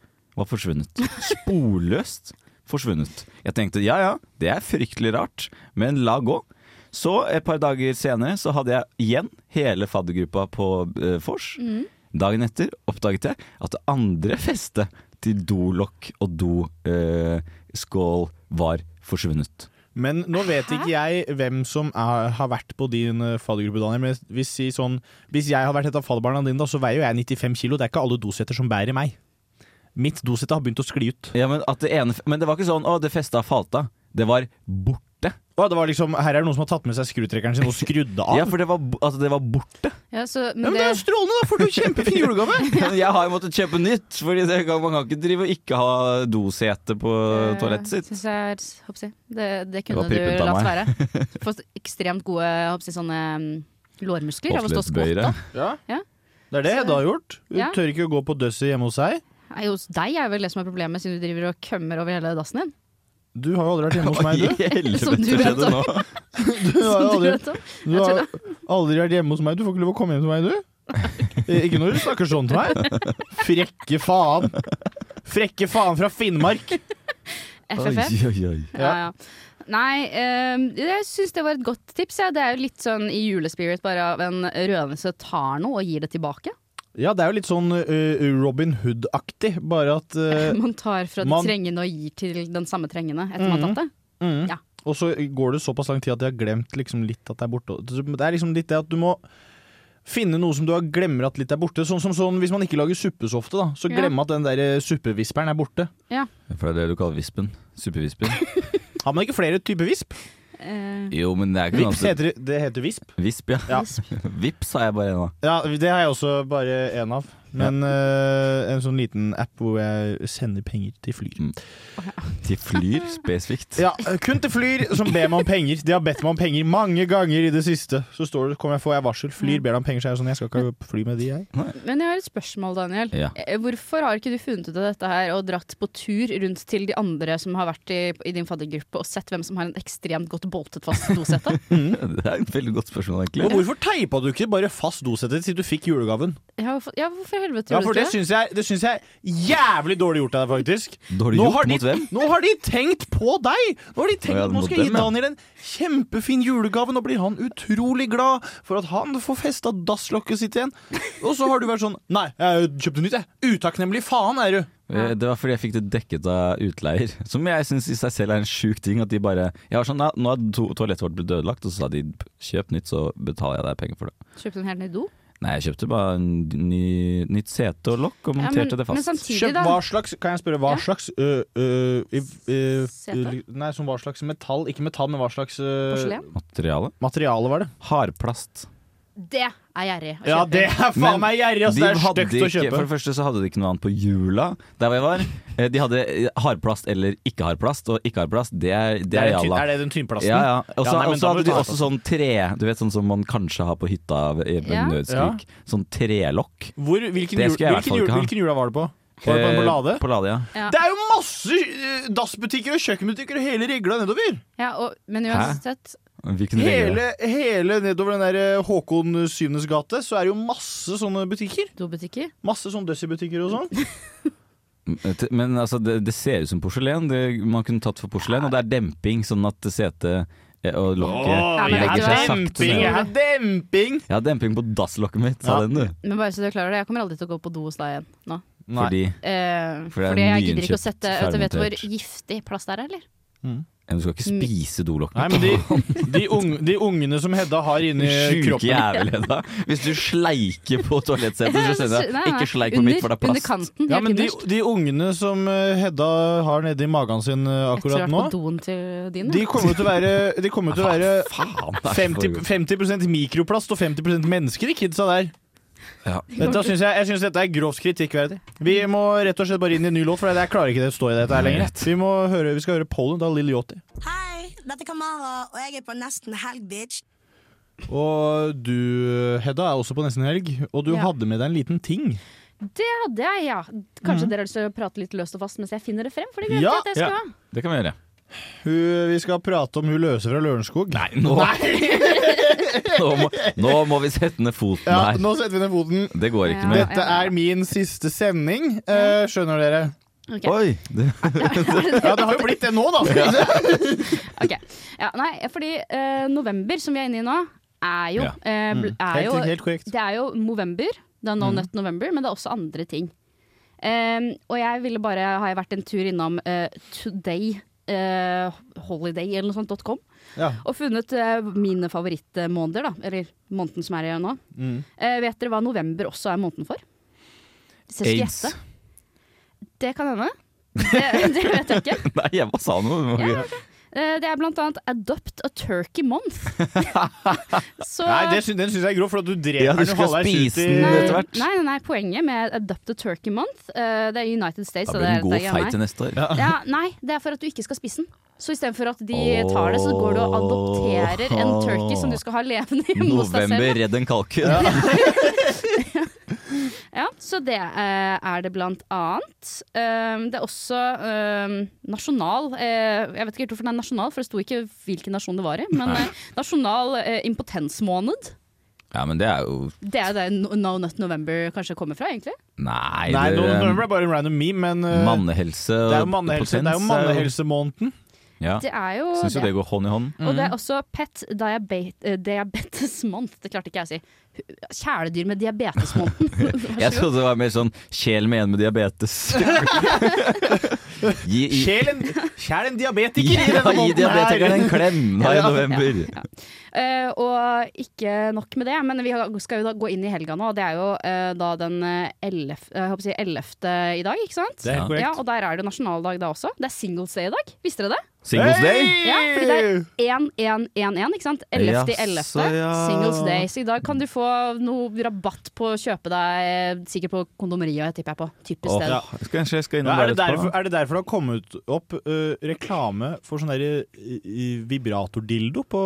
D: var forsvunnet. Sporløst forsvunnet. Jeg tenkte ja ja, det er fryktelig rart, men la gå. Så et par dager senere så hadde jeg igjen hele faddergruppa på eh, vors.
T: Mhm.
D: Dagen etter oppdaget jeg at det andre festet til dolokk og doskål var forsvunnet.
B: Men nå vet ikke jeg hvem som er, har vært på din eh, faddergruppe, Daniel. Men hvis, si sånn, hvis jeg har vært et av fadderbarna dine, da, så veier jo jeg 95 kilo. Det er ikke alle dosetter som bærer meg. Mitt dosette har begynt å skli ut.
D: Ja, men, at det ene, men det var ikke sånn 'å, det festa falt av'. Det var borte.
B: Å, det var liksom, her er det noen som har tatt med seg skrutrekkeren sin og skrudd av?
D: Ja, for det var, bo- altså, det var borte.
C: Ja, så,
B: Ja, men det er jo strålende, da får du kjempefin julegave!
D: Men jeg har jo måttet kjøpe nytt, for man kan ikke drive og ikke ha dosete på toalettet
C: Eh,
D: sitt.
C: Synes jeg, er- håper jeg. Det, det
D: Det var
C: kunne du
D: prippent av
C: latt
D: meg.
C: være. Fått ekstremt gode håper jeg, sånne mm, lårmuskler av å stå skvatt. da.
B: Ja.
C: Ja.
B: Det er det Hedda har gjort. Hun
C: Ja.
B: tør ikke å gå på døsset hjemme hos seg.
C: Nei, Hos deg er vel det som er problemet, siden du driver og kømmer over hele dassen din.
B: Du har jo aldri vært hjemme hos meg,
D: Hva i
B: du.
D: helvete Som du vet skjedde om. nå?
B: Du har,
C: Som
B: jo
C: du
B: aldri,
C: vet om.
B: du
C: Jeg
B: har
C: tuller.
B: aldri vært hjemme hos meg. Du får ikke lov å komme hjem til meg, du. Eh, Ikke når du snakker sånn til meg. Frekke faen. Frekke faen fra Finnmark.
C: FFF.
B: Oi, oi, oi.
C: Ja, ja. Nei, ehm, jeg syns det var et godt tips. Ja. Det er jo litt sånn i julespirit bare av en røvelse tar noe og gir det tilbake.
B: Ja, det er jo litt sånn eh, Robin Hood-aktig, bare at eh,
C: Man tar fra
B: man-
C: de trengende og gir til den samme trengende etter man har
B: Mhm.
C: tatt det.
B: Mhm.
C: Ja.
B: Og så går det såpass lang tid at de har glemt liksom litt at det er borte. Det er liksom litt det at du må finne noe som du har glemmer at litt er borte. Sånn som sånn, hvis man ikke lager suppe så ofte, da. Så
C: Ja.
B: glemme at den der eh, suppevisperen er borte.
C: Ja.
D: For det er det du kaller vispen. Supervispen.
B: Har man ikke flere typer visp?
C: Eh,
D: Jo, men det er ikke noe
B: Vips heter det, det heter visp.
D: Visp,
B: Ja.
D: ja. Vips har jeg bare en av.
B: Ja, det har jeg også bare én av. Men eh, en sånn liten app hvor jeg sender penger til Flyr.
D: Til Flyr spesifikt.
B: Ja, kun til Flyr, som ber meg om penger. De har bedt meg om penger mange ganger i det siste. Så står det, kommer jeg, får jeg varsel. Flyr ber deg om penger, så er jeg sånn Jeg skal ikke fly med de, jeg.
C: Men jeg har et spørsmål, Daniel.
B: Ja.
C: Eh, Hvorfor har ikke du funnet ut av dette her og dratt på tur rundt til de andre som har vært i, i din faddergruppe og sett hvem som har en ekstremt godt boltet fast dosette?
D: Det er et veldig godt spørsmål, egentlig.
B: Og hvorfor teipa du ikke bare fast dosetter til du fikk julegaven?
C: ja, hvorfor- ja, hvorfor i helvete
B: Ja,
C: gjorde
B: for
C: du
B: det
C: ikke det?
B: syns jeg, det syns jeg er jævlig dårlig gjort av deg, faktisk.
D: Dårlig
B: Nå
D: gjort
B: har de-
D: mot hvem?
B: Nå har de tenkt på deg! Nå har de tenkt
D: Å ja,
B: at nå
D: mot
B: skal jeg gi
D: dem, ja.
B: Daniel en kjempefin julegave. Nå blir han utrolig glad for at han får festa dasslokket sitt igjen. Og så har du vært sånn Nei, jeg kjøpte nytt, jeg. Utakknemlig faen er du.
D: Eh, Det var fordi jeg fikk det dekket av utleier. Som jeg syns i seg selv er en sjuk ting. At de bare Jeg var sånn, "Nei, Nå har to toalettet vårt blitt ødelagt, og så sa de kjøp nytt, så betaler jeg deg penger for det.
C: Kjøpte en helt ny do?
D: Nei, jeg kjøpte bare en ny, nytt sete og lokk og
C: Ja,
D: monterte
C: men- sånn-
D: det fast.
C: men samtidig Kjøp da-
B: Hva slags, kan jeg spørre hva
C: Ja.
B: slags øh, øh, i- øh,
D: Sete?
B: Nei, som hva slags metall? Ikke metall, men hva slags øh,
C: Porselen?
D: Materiale?
B: Materiale var det.
D: Hardplast.
C: Det er gjerrig å kjøpe.
B: Ja, det er faen meg gjerrig, ass.
D: de
B: Det er
D: hadde
B: stygt å
D: ikke-
B: kjøpe.
D: For det første så hadde de ikke noe annet på jula der hvor jeg var. Eh, De hadde eh, hardplast eller ikke hardplast, og ikke hardplast, det er Det,
B: Det er den
D: jalla.
B: tynn- er det den tynnplasten?
D: Ja, ja. Og
B: Ja,
D: så
B: nei, men
D: og så
B: da må
D: hadde
B: du
D: de
B: ta
D: også sånn tre Du vet sånn som man kanskje har på hytta ved- ved
B: Ja.
D: nødskrik. Sånn trelokk.
B: Hvor, hvilken,
D: Det
B: jul,
D: skal jeg i hvert
B: hvilken,
D: fall
B: jul,
D: ikke ha.
B: hvilken jula var det på? Var det på en
D: Eh,
B: Lade?
D: På Lade, ja.
C: Ja.
B: Det er jo masse eh, dassbutikker og kjøkkenbutikker og hele regla nedover!
C: Ja, og, men
D: Hæ?
C: uansett
D: Hvilken regel?
B: Hele, hele nedover den der eh, Håkon Syvnes gate så er det jo masse sånne butikker.
C: Dobutikker?
B: Masse sånn Dussie-butikker og sånn.
D: Mm, Men altså, det, det ser ut som porselen. Det, man kunne tatt for porselen, og det er demping, sånn at setet Ja, Og lokket
B: Åh,
D: legger
B: jeg
D: seg
B: har
D: sakte
B: altså, demping!
D: nedover.
B: Jeg har demping!
D: Jeg har demping på dasslokket mitt, sa den du.
C: Men bare så du klarer det, jeg kommer aldri til å gå på do hos deg igjen nå.
D: Nei. Fordi?
C: Eh,
D: For det er
C: fordi jeg gidder ikke å
D: nyinnkjøpt,
C: sette vet du, Vet du hvor
D: fermentert.
C: giftig plast det er, eller?
D: Men eh, du skal ikke spise dolokket.
B: Nei, men de, de, ung- de ungene som Hedda har inni
D: Sjuke
B: kroppen
D: jævel, Hedda. Hvis du sleiker på toalettsetet, så skjønner jeg
C: Nei,
D: at
C: nei.
D: ikke sleik på mitt, for det er
C: Under
D: plast.
C: kanten, helt
B: Ja, men de,
C: innerst.
B: de ungene som eh, Hedda har nedi magen sin eh,
C: Etter å ha
B: akkurat
C: vært
B: nå
C: på doen til din.
B: de kommer til å være, de kommer til å være
D: det
B: 50,
D: er for-
B: 50 mikroplast og 50 mennesker, de kidsa der.
D: Ja.
B: Dette synes jeg, jeg syns dette er grovt kritikkverdig. Vi må rett og slett bare inn i en ny låt, for jeg klarer ikke det å stå i dette her lenger. Vi, må høre, vi skal høre Poland av Lil Yachty.
T: Hei, dette er Kamara, og jeg er på Nesten Helg, bitch.
B: Og du, Hedda, er også på Nesten Helg, og du
C: Ja.
B: hadde med deg en liten ting.
C: Det hadde jeg, ja. Kanskje dere har lyst til å prate litt løst og fast mens jeg finner det frem? For det glemte
B: Mhm. Ja.
C: jeg at jeg skulle
B: Ja.
C: ha.
D: Det kan vi gjøre.
B: Hun, vi skal prate om hun løse fra Lørenskog. Nei,
D: nå- Nå må, nå må vi sette ned foten
B: Ja,
D: her.
B: nå setter vi ned foten.
D: Det går ikke mer.
B: Dette er min siste sending, eh, skjønner dere.
C: Ok.
D: Oi! Det,
B: Ja, det har jo blitt det nå, da. Skal vi se.
C: Ja, nei, fordi eh, november, som vi er inne i nå, er jo,
B: Ja.
C: eh, bl-
B: Mm.
C: er
B: Helt-
C: jo
B: helt korrekt.
C: Det er jo Movember. Det er No
B: Mm.
C: Nut November, men det er også andre ting. Em, og jeg ville bare Har jeg vært en tur innom eh, Today eh, Holiday eller noe sånt dot .com
B: Ja.
C: og funnet eh, mine favorittmåneder, da. Eller måneden som er i nå.
B: Mm.
C: Eh, vet dere hva november også er måneden for? Hvis jeg
D: Aids.
C: skulle gjette. Det kan hende. Det, det vet jeg ikke.
D: nei, jeg bare sa noe.
C: Eh, Det er blant annet Adopt a Turkey Month. Så, eh,
B: Nei, det sy den syns jeg er grov, for at du dreper
D: Ja, du
B: den
D: skal
B: halvveis ut
D: spise
B: i
D: den etter hvert.
C: Nei, nei, nei, poenget med Adopt a Turkey Month eh, Det er United States.
D: Da
C: og
D: blir det en
C: det
D: god
C: er- det er
D: fight
C: jeg
D: til
C: meg.
D: neste år.
C: Ja, nei, det er for at du ikke skal spise den. Så istedenfor at de tar det, så går du og adopterer en turkey som du skal ha levende hjemme hos deg selv.
D: November, redd en kalkun.
C: Ja, så det eh, er det blant annet. Um, det er også um, nasjonal eh, Jeg vet ikke helt hvorfor den er nasjonal, for det sto ikke hvilken nasjon det var i. Men
D: Nei.
C: eh, nasjonal eh, impotensmåned.
D: Ja, men det er jo
C: Det er der No No Nut November kanskje kommer fra, egentlig.
D: Nei,
B: Nei,
D: det,
B: nå nå ble det bare en random meme, men eh,
D: mannehelse
B: det er jo
D: og
B: mannehelse,
D: potens
B: det er jo mannehelsemåneden.
D: Ja.
C: Det er jo
D: Syns jo
C: det.
D: det går Mm. hånd i hånd.
C: Og det er også pet diabe- eh, diabetes month. Det klarte ikke jeg å si. Kjæledyr med diabetesmåneden.
D: Jeg trodde det var mer sånn kjel med en med diabetes. gi, gi,
B: Kjæl en, kjæl en diabetiker i
D: ja,
B: denne
D: gi
B: måneden
D: diabetikeren en klem da i
B: Ja.
D: november.
C: Eh, og ikke nok med det, men vi har- skal jo da gå inn i helga nå. og Det er jo eh, da den eh, 11, eh, jeg håper å si 11. i dag, ikke sant?
D: Det er helt korrekt.
C: ja, Og der er det nasjonaldag da også. Det er singles day i dag, visste dere det?
D: Singles Day?
C: Ja, fordi det er 1111, ikke sant? 11. i 11.
D: Jaså, ja.
C: Singles day. Så i dag kan du få noe rabatt på å kjøpe deg eh, Sikkert på kondomeriet, tipper jeg på. Typisk
D: Åh,
C: sted.
D: ja. Kanskje jeg
B: Ja,
D: skal innom
B: er,
D: der
B: det
D: etterpå.
B: derfor, er det derfor det har kommet opp eh, reklame for sånn der eh, i- vibrator-dildo på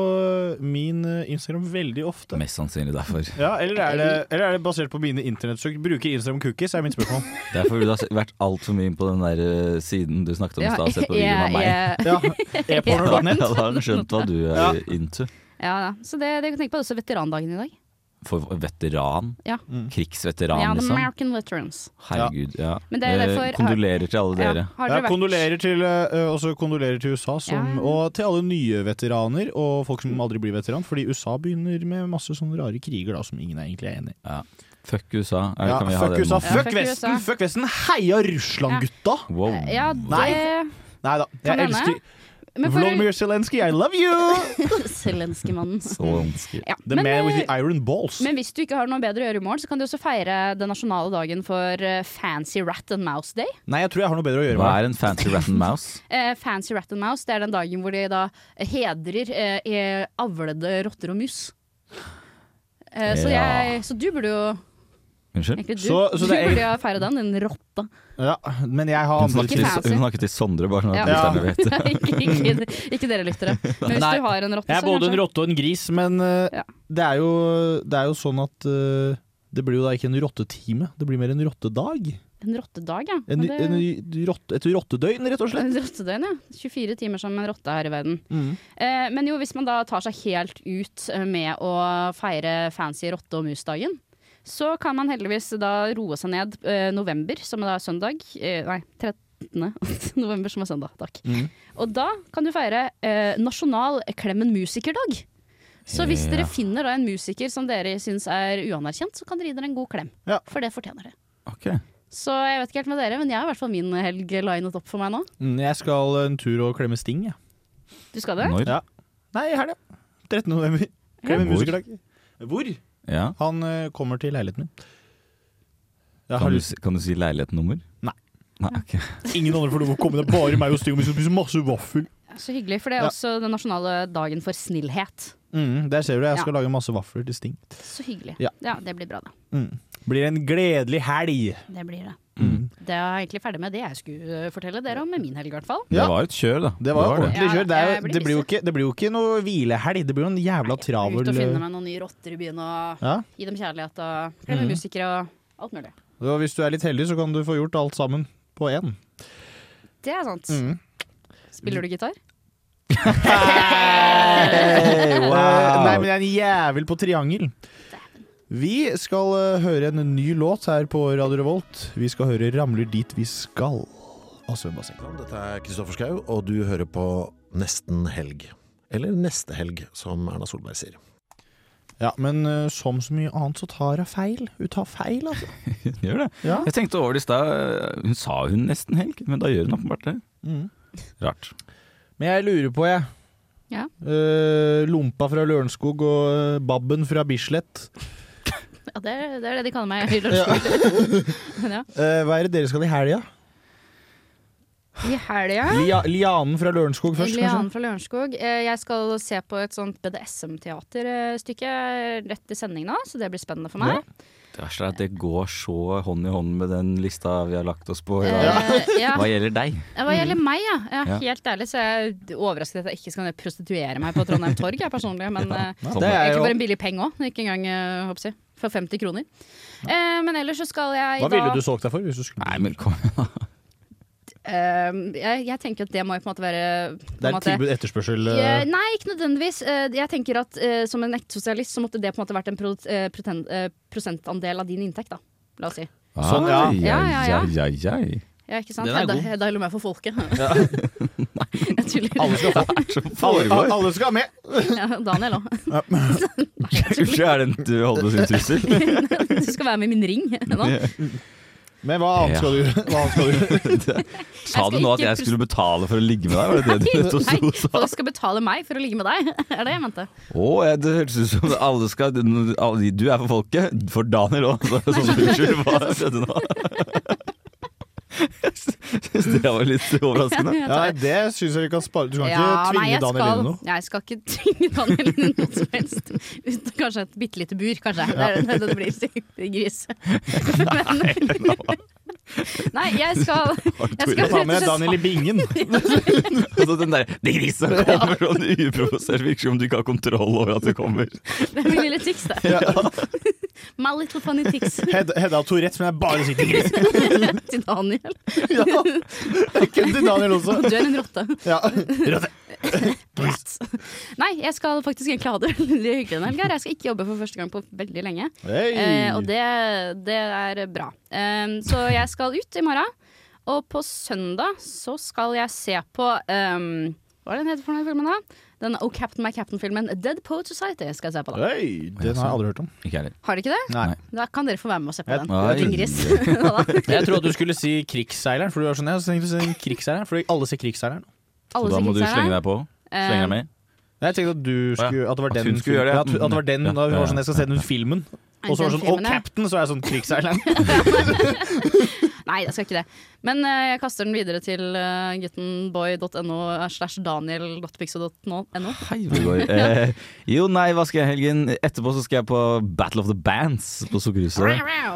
B: eh, min eh, Instagram veldig ofte?
D: Mest sannsynlig derfor.
B: Ja, eller er det, eller er det basert på mine internettsøk? Bruker Instagram cookies, er mitt spørsmål.
D: Derfor burde du ha vært altfor mye på den der eh, siden du snakket om i
C: Ja,
D: stad. Se på videoen av meg.
C: ja.
B: Ja,
D: Da,
B: e-porno.net.
D: da har han skjønt hva du er
B: Ja.
D: into.
C: Ja, ja. Så det, det kan tenke på det er også veterandagen i dag.
D: For veteran?
C: Ja.
B: Mm.
D: Krigsveteran,
C: ja, the
D: liksom?
C: American veterans.
D: Herregud, ja.
C: Men det er
D: Eh,
C: derfor-
D: Kondolerer til alle
C: Ja.
D: dere.
C: Har
B: Ja,
C: dere vært-
B: kondolerer til, eh, også kondolerer til USA, som, og til alle nye veteraner og folk som aldri blir veteran. Fordi USA begynner med masse sånne rare kriger da, som ingen er egentlig er enig i.
D: Ja. Fuck USA. Er,
B: Ja,
D: kan vi ha
B: fuck
D: den
B: USA,
D: nå?
B: fuck
C: fuck
B: Vesten,
C: USA.
B: fuck Vesten! Heia Russland, gutta!
D: Wow.
C: Ja, det
B: Nei. Nei da,
C: Kan
B: jeg
C: hende.
B: elsker
C: Men for-
B: Volodymyr Zelenskyj, I love you!
C: Zelenskyj-mannen. Ja,
B: The
C: men,
B: man with
C: eh,
B: the iron balls.
C: Men hvis du ikke har noe bedre å gjøre i morgen, så kan du også feire den nasjonale dagen for eh, Fancy Rat and Mouse Day.
B: Nei, jeg tror jeg har noe bedre å gjøre
D: Hva er en fancy rat and mouse?
C: Eh, Fancy Rat and Mouse det er den dagen hvor de da hedrer eh, eh, avlede rotter og mus. Eh, så,
B: Ja.
C: jeg, så du burde jo
D: Unnskyld?
C: Egentlig du,
B: Så- så
C: du
B: det er-
C: burde jo feire den, din rotte.
B: Ja, men jeg har
D: Hun
B: andre
D: snakket,
C: Ikke fancy.
D: til, hun snakket til Sondre, bare sånn at
B: Ja.
D: lytterne vet det.
C: ikke, ikke, ikke dere lyttere. Men hvis
B: Nei.
C: du har en rotte,
B: Jeg er
C: så
B: både
C: kanskje
B: en rotte og en gris, men eh, det, er jo, det er jo sånn at eh, det blir jo da ikke en rottetime, det blir mer en rottedag.
C: en rottedag, ja.
B: En,
C: Og det-
B: en rotte, et rottedøgn, rett og slett.
C: Et rottedøgn, ja. 24 timer som en rotte her i verden. Eh, men jo, hvis man da tar seg helt ut eh, med å feire fancy rotte- og musdagen, så kan man heldigvis da roe seg ned eh, november, som da er søndag, eh, nei, tre- 18. november, som er søndag. Takk.
D: Mm.
C: Og da kan du feire eh, nasjonal Klemmen musikerdag. Så hvis
D: Ja.
C: dere finner da en musiker som dere syns er uanerkjent, så kan dere gi dere en god klem. For det fortjener det.
B: Ok.
C: Så jeg vet ikke helt med dere, men jeg har i hvert fall min helg linet opp for meg nå.
B: Mm, Jeg skal en tur og klemme Sting, jeg.
C: Du skal det?
B: Ja. Nei, i helga. 13. november. Klemme
D: Ja.
B: musikerdag. Hvor?
D: Ja.
B: Han eh, kommer til leiligheten min. Jeg har
D: Kan, du,
B: lyst-
D: si- kan du si leilighetsnummer?
B: Nei.
D: Nei, ok.
B: Ingen andre får lov å komme, det er bare meg og Sting, og vi skal spise masse vaffel.
C: Så hyggelig, for det er
B: Ja.
C: også den nasjonale dagen for snillhet.
B: Mm, der ser du, jeg skal
C: Ja.
B: lage masse vafler til Sting.
C: Så hyggelig.
B: Ja.
C: det blir bra, da.
B: Mm. Blir en gledelig helg.
C: Det blir det.
B: Mm.
C: Det er jeg egentlig ferdig med det jeg skulle eh, fortelle dere om, med min helg i hvert fall.
D: Det var jo et kjør, da.
B: Det var jo ordentlig
C: Ja,
B: kjør. Det, er,
C: jeg blir
B: jo- det, blir jo ikke, det blir jo ikke noe hvilehelg, det blir jo en jævla
C: Ut
B: travel eh.
C: og finne meg noen nye rotter i byen og
B: Ja.
C: gi dem kjærlighet og glemme
B: Mhm.
C: musikere og alt mulig.
B: Og Hvis du er litt heldig, så kan du få gjort alt sammen på én.
C: Det er sant.
B: Mm.
C: Spiller du gitar?
B: Eh,
C: wow.
B: Nei, men jeg er en jævel på triangel. Vi skal eh, høre en ny låt her på Radio Revolt. Vi skal høre 'Ramler dit vi skal' av Svømmebasseng.
A: Dette er Kristoffer Schau, og du hører på Nesten helg. Eller Neste helg, som Erna Solberg sier.
B: Ja, men eh, som så mye annet så tar hun feil. Hun tar feil, altså.
D: Hun gjør det. Jeg tenkte over det i stad. eh, Hun sa hun nesten helg, men da gjør hun åpenbart det.
B: Mm.
D: Rart.
B: Men jeg lurer på, jeg.
C: Ja.
B: Eh, lompa fra Lørenskog og eh, Babben fra Bislett.
C: Ja, det, er- det er det de kaller meg. i lunsjskolen. Men ja.
B: Eh, hva er det dere skal i helga?
C: I helga
B: Lia, lianen fra Lørenskog først,
C: Lianen
B: kanskje?
C: fra Lørenskog. Eh, Jeg skal se på et sånt BDSM-teaterstykke eh, rett i sending nå, så det blir spennende for meg.
D: Det verste er at det går så hånd i hånd med den lista vi har lagt oss på i dag.
C: Eh, ja.
D: Hva gjelder deg?
C: Ja, Hva
B: Mm.
C: gjelder meg, ja. ja.
D: Ja.
C: Helt ærlig så er jeg overrasket at jeg ikke skal ned og prostituere meg på Trondheim Torg, jeg personlig. Men
D: Ja,
C: eh,
D: sånn
C: det er
D: det.
C: egentlig bare en billig penge òg. Ikke engang eh, håper jeg, for 50 kroner. Eh, men ellers så skal jeg
B: Hva
C: da
B: ville du solgt deg for? Hvis du skulle?
D: Nei, men kom
C: eh, jeg, jeg tenker at det må jo på en måte være på
B: Det
C: en
B: er
C: måte-
B: tilbud etterspørsel eh,
C: Eh, nei, ikke nødvendigvis. Eh, jeg tenker at eh, Som en ekte sosialist så måtte det på en måte vært en pro eh, preten- eh, prosentandel av din inntekt, da. La oss si.
B: Sånn, ja.
C: Ja, ja, ja.
D: ja, ja, ja.
C: Ja, ikke sant?
D: Den er
C: Jeg da-
D: god.
C: Jeg deiler meg for folket.
D: Alle
C: skal
D: få.
B: Alle, alle skal med!
C: ja, Daniel òg.
D: Kanskje er det en du holder sin trussel?
C: du skal være med i min ring nå.
B: Men hva annet skal du gjøre? Hva annet skal du gjøre?
D: Sa du nå at jeg skulle betale for å ligge med deg? Var det det du
C: Nei,
D: nettopp sa?
C: folk skal betale meg for å ligge med deg, er det jeg mente.
D: Å, jeg- det hørtes ut som alle skal alle, Du er for folket, for Daniel òg. Så, så, unnskyld, hva skjedde nå? Jeg synes det var litt overraskende.
C: Ja, jeg tar
B: det syns jeg vi kan spare. Du kan ikke
C: nei,
B: tvinge
C: jeg
B: Daniel
C: skal,
B: inn i noe.
C: Jeg skal ikke tvinge Daniel inn i noe som helst. Uten kanskje et bitte lite bur, kanskje. Det er det det blir. sikkert Gris. Men, nei, jeg skal Jeg skal
B: Ta med deg Daniel i bingen.
D: Og så Altså, den der, Det grisen kommer sånn uprovosert, virker som du ikke har kontroll over at det kommer.
C: Det er min lille tics, det. My little funny tics
B: Hedda Hedda har Tourettes, men jeg bare sitter i gris.
C: til Daniel.
B: Kun til Daniel også.
C: Du er en rotte.
B: Ja. Rotte.
C: Rats. Nei, jeg skal faktisk egentlig ha det veldig hyggelig denne helga. Jeg skal ikke jobbe for første gang på veldig lenge.
B: Hei.
C: Eh, og det, det er bra. Eh, så jeg skal ut i morgen. Og på søndag så skal jeg se på ehm, Hva er den heter for noe filmen da? Den Oh Captain My Captain-filmen Dead Poet Society skal jeg se på da.
B: Hei, den har jeg aldri hørt om.
D: Ikke heller.
C: Har dere ikke det?
B: Nei.
C: Da kan dere få være med og se på
B: Jeg-
C: den.
B: Nei.
C: Din gris. Da.
B: Jeg trodde du skulle si Krigsseileren, for du er sånn, jeg tenkte du si krigsseileren, fordi alle ser Krigsseileren.
C: Alle
D: da
C: som
D: må
C: ikke
D: du
C: ser her.
D: slenge deg på. Slenge deg
C: Um,
D: med.
B: Jeg tenkte at du skulle At det var
D: At
B: den
D: hun skulle gjøre
B: ja,
D: det, ja.
B: At, at det var den,
D: Ja,
B: da hun
D: ja,
B: var sånn, jeg skal se den filmen. Og så var det sånn,
C: Eh, Den
B: oh
C: filmen, ja.
B: captain, så er jeg sånn Krigsseileren.
C: Nei, jeg skal ikke det. Men eh, jeg kaster den videre til eh, guttenboy.no eh, slash daniel.pixo.no.
D: Helvete. Eh, jo, nei, hva skal jeg i helgen? Etterpå så skal jeg på Battle of the Bands på Sukkerhuset.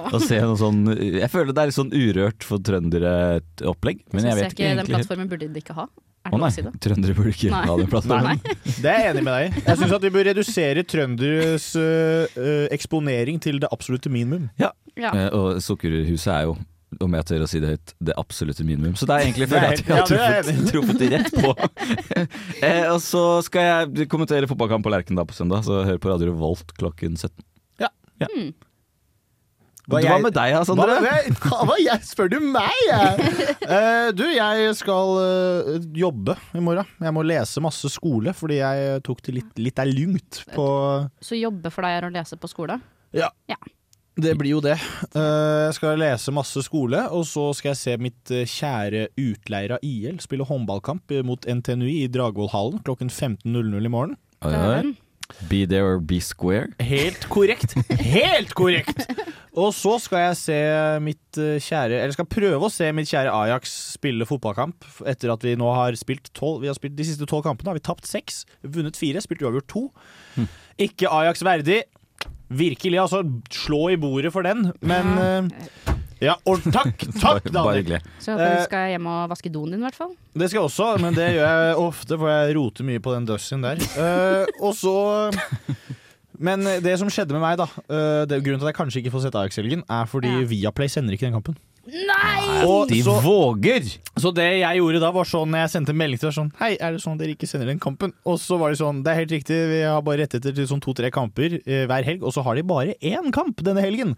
D: Og se noe sånn Jeg føler det er litt sånn urørt for trøndere et opplegg, men jeg vet ikke
C: Den
D: egentlig helt.
C: plattformen burde de ikke ha. Er det
D: Å
C: lov
D: nei,
C: å si det?
D: trøndere burde ikke
C: Nei.
D: ha den
C: Nei.
D: plattformen.
B: Det er jeg enig med deg i. Jeg syns at vi bør redusere trønderes øh, øh, eksponering til det absolutte minimum.
D: Ja.
C: Ja.
D: Eh, og Sukkerhuset er jo, om jeg tør å si det høyt, det absolutte minimum. Så det er egentlig føler jeg at
B: Det
D: vi
B: er
D: har
B: helt- ja, det er
D: truffet, truffet de rett på. eh, og så skal jeg kommentere
C: Hmm.
D: fotballkamp på Lerken da på søndag, så hør på Radio Revolt klokken 17.
B: Ja.
D: Ja. Hva
B: jeg-
D: med deg, altså, da, Sondre?
B: Sånn Hva, med- hva jeg, spør du meg, jeg? Eh, du, jeg skal eh, jobbe i morgen. Jeg må lese masse skole, fordi jeg tok det litt, litt er lungt på
C: Så jobbe for deg er å lese på skolen?
B: Ja.
C: Ja.
B: Det blir jo det. Eh, Jeg skal lese masse skole, og så skal jeg se mitt eh, kjære utleira IL spille håndballkamp mot NTNUI i Dragvollhallen klokken 15.00 i morgen.
D: Oi,
C: Eh,
D: oi. Be there or be square.
B: Helt korrekt. Helt korrekt! Og så skal jeg se mitt eh, kjære Eller skal prøve å se mitt kjære Ajax spille fotballkamp f- etter at vi nå har spilt tolv Vi har spilt de siste tolv kampene. Har vi tapt seks, vunnet fire, spilt uavgjort to.
D: Hm.
B: Ikke Ajax verdig. Virkelig, altså. Slå i bordet for den, men eh, Ja, og takk! Takk,
D: Bare- bare
B: Daniel!
D: hyggelig.
C: Så jeg håper
B: Eh,
C: du skal hjem og vaske doen din, i hvert fall.
B: det skal jeg også, men det gjør jeg ofte, for jeg roter mye på den døssin der. Eh, og så Men det som skjedde med meg, da eh, det, Grunnen til at jeg kanskje ikke får sett Ajax-helgen, er fordi Viaplay sender ikke den kampen.
C: Nei!
D: De våger!
B: Så det jeg gjorde da, var sånn jeg sendte en melding til deg sånn Hei, er det sånn at dere ikke sender den kampen? Og så var de sånn Det er helt riktig, vi har bare rettigheter til sånn to-tre kamper eh, hver helg, og så har de bare én kamp denne helgen.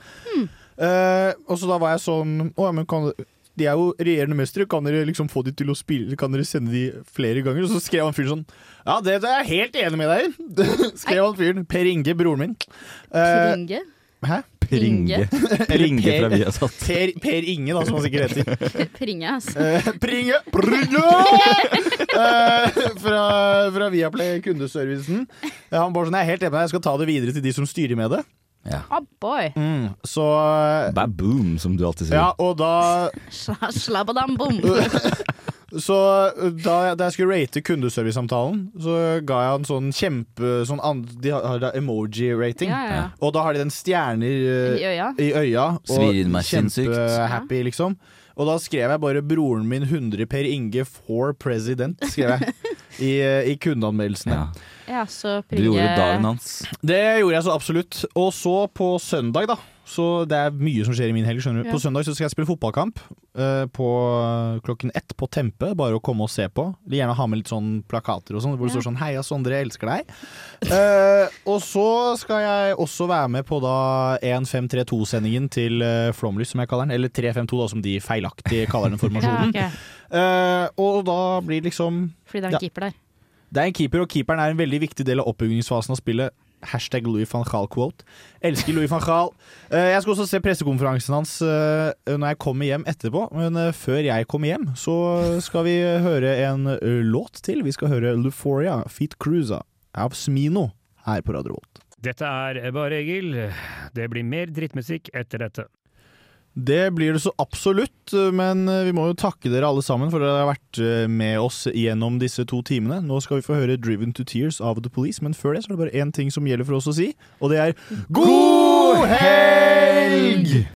B: Eh, og så da var jeg sånn Å ja, men kan de er jo regjerende mestere, kan dere liksom få de til å spille Kan dere sende de flere ganger? Og så skrev han fyren sånn Ja, det, det er jeg helt enig med deg i! skrev han fyren. Per Inge, broren min. Eh,
C: Pringe?
B: Hæ?
D: Per Inge. Per Inge fra Viasat.
B: Per, per Inge, da, som han sikkert heter.
C: Pringe, ass.
B: Eh, Pringe! Pringe! Eh, fra, fra Viaplay kundeservicen. Eh, Han bare sånn, jeg er helt enig med deg, jeg skal ta det videre til de som styrer med det.
C: Ah, boy!
B: Mm, så
D: Baboom, som du alltid sier.
B: Ja, og da
C: Sla- Slabbadambom!
B: Så da, jeg- da jeg skulle rate kundeservicesamtalen, så ga jeg en sånn kjempe sånn an, De har har da emoji-rating.
C: Ja, ja, ja.
B: Og da har de den stjerner eh,
C: I øya.
B: I øya
D: Svir inn meg sinnssykt.
B: kjempehappy, liksom. Og da skrev jeg bare 'Broren min 100 Per Inge for president', skrev jeg. I, eh, i kundeanmeldelsene.
C: Ja, så
D: Du
C: pringe
D: gjorde dagen hans.
B: Det gjorde jeg så absolutt. Og så på søndag, da. Så det er mye som skjer i min helg. skjønner du
C: Ja.
B: På søndag så skal jeg spille fotballkamp eh, på klokken ett på Tempe. Bare å komme og se på. Vil Gjerne ha med litt sånn plakater og sånn, hvor det står sånn 'Heia Sondre, jeg elsker deg'. Eh, og så skal jeg også være med på da 1532-sendingen til eh, Flomlys, som jeg kaller den. Eller 352, da, som de feilaktig kaller den formasjonen.
C: Ja, ok.
B: Eh, og da blir liksom
C: Fordi det er en
B: Ja.
C: keeper der.
B: det er en keeper, og keeperen er en veldig viktig del av oppbyggingsfasen av spillet. Hashtag Louis van Gaal-quote. Elsker Louis van Gaal. Eh, Jeg skal også se pressekonferansen hans eh, når jeg kommer hjem etterpå. Men eh, før jeg kommer hjem, så skal vi høre en eh, låt til. Vi skal høre Luforia, Feet Cruiser, av Smino, her på Radio Volt.
E: Dette er Bare Egil. Det blir mer drittmusikk etter dette.
B: Det blir det så absolutt, eh, men vi må jo takke dere alle sammen for at dere har vært eh, med oss gjennom disse to timene. Nå skal vi få høre 'Driven to Tears' av The Police, men før det så er det bare én ting som gjelder for oss å si, og det er God helg!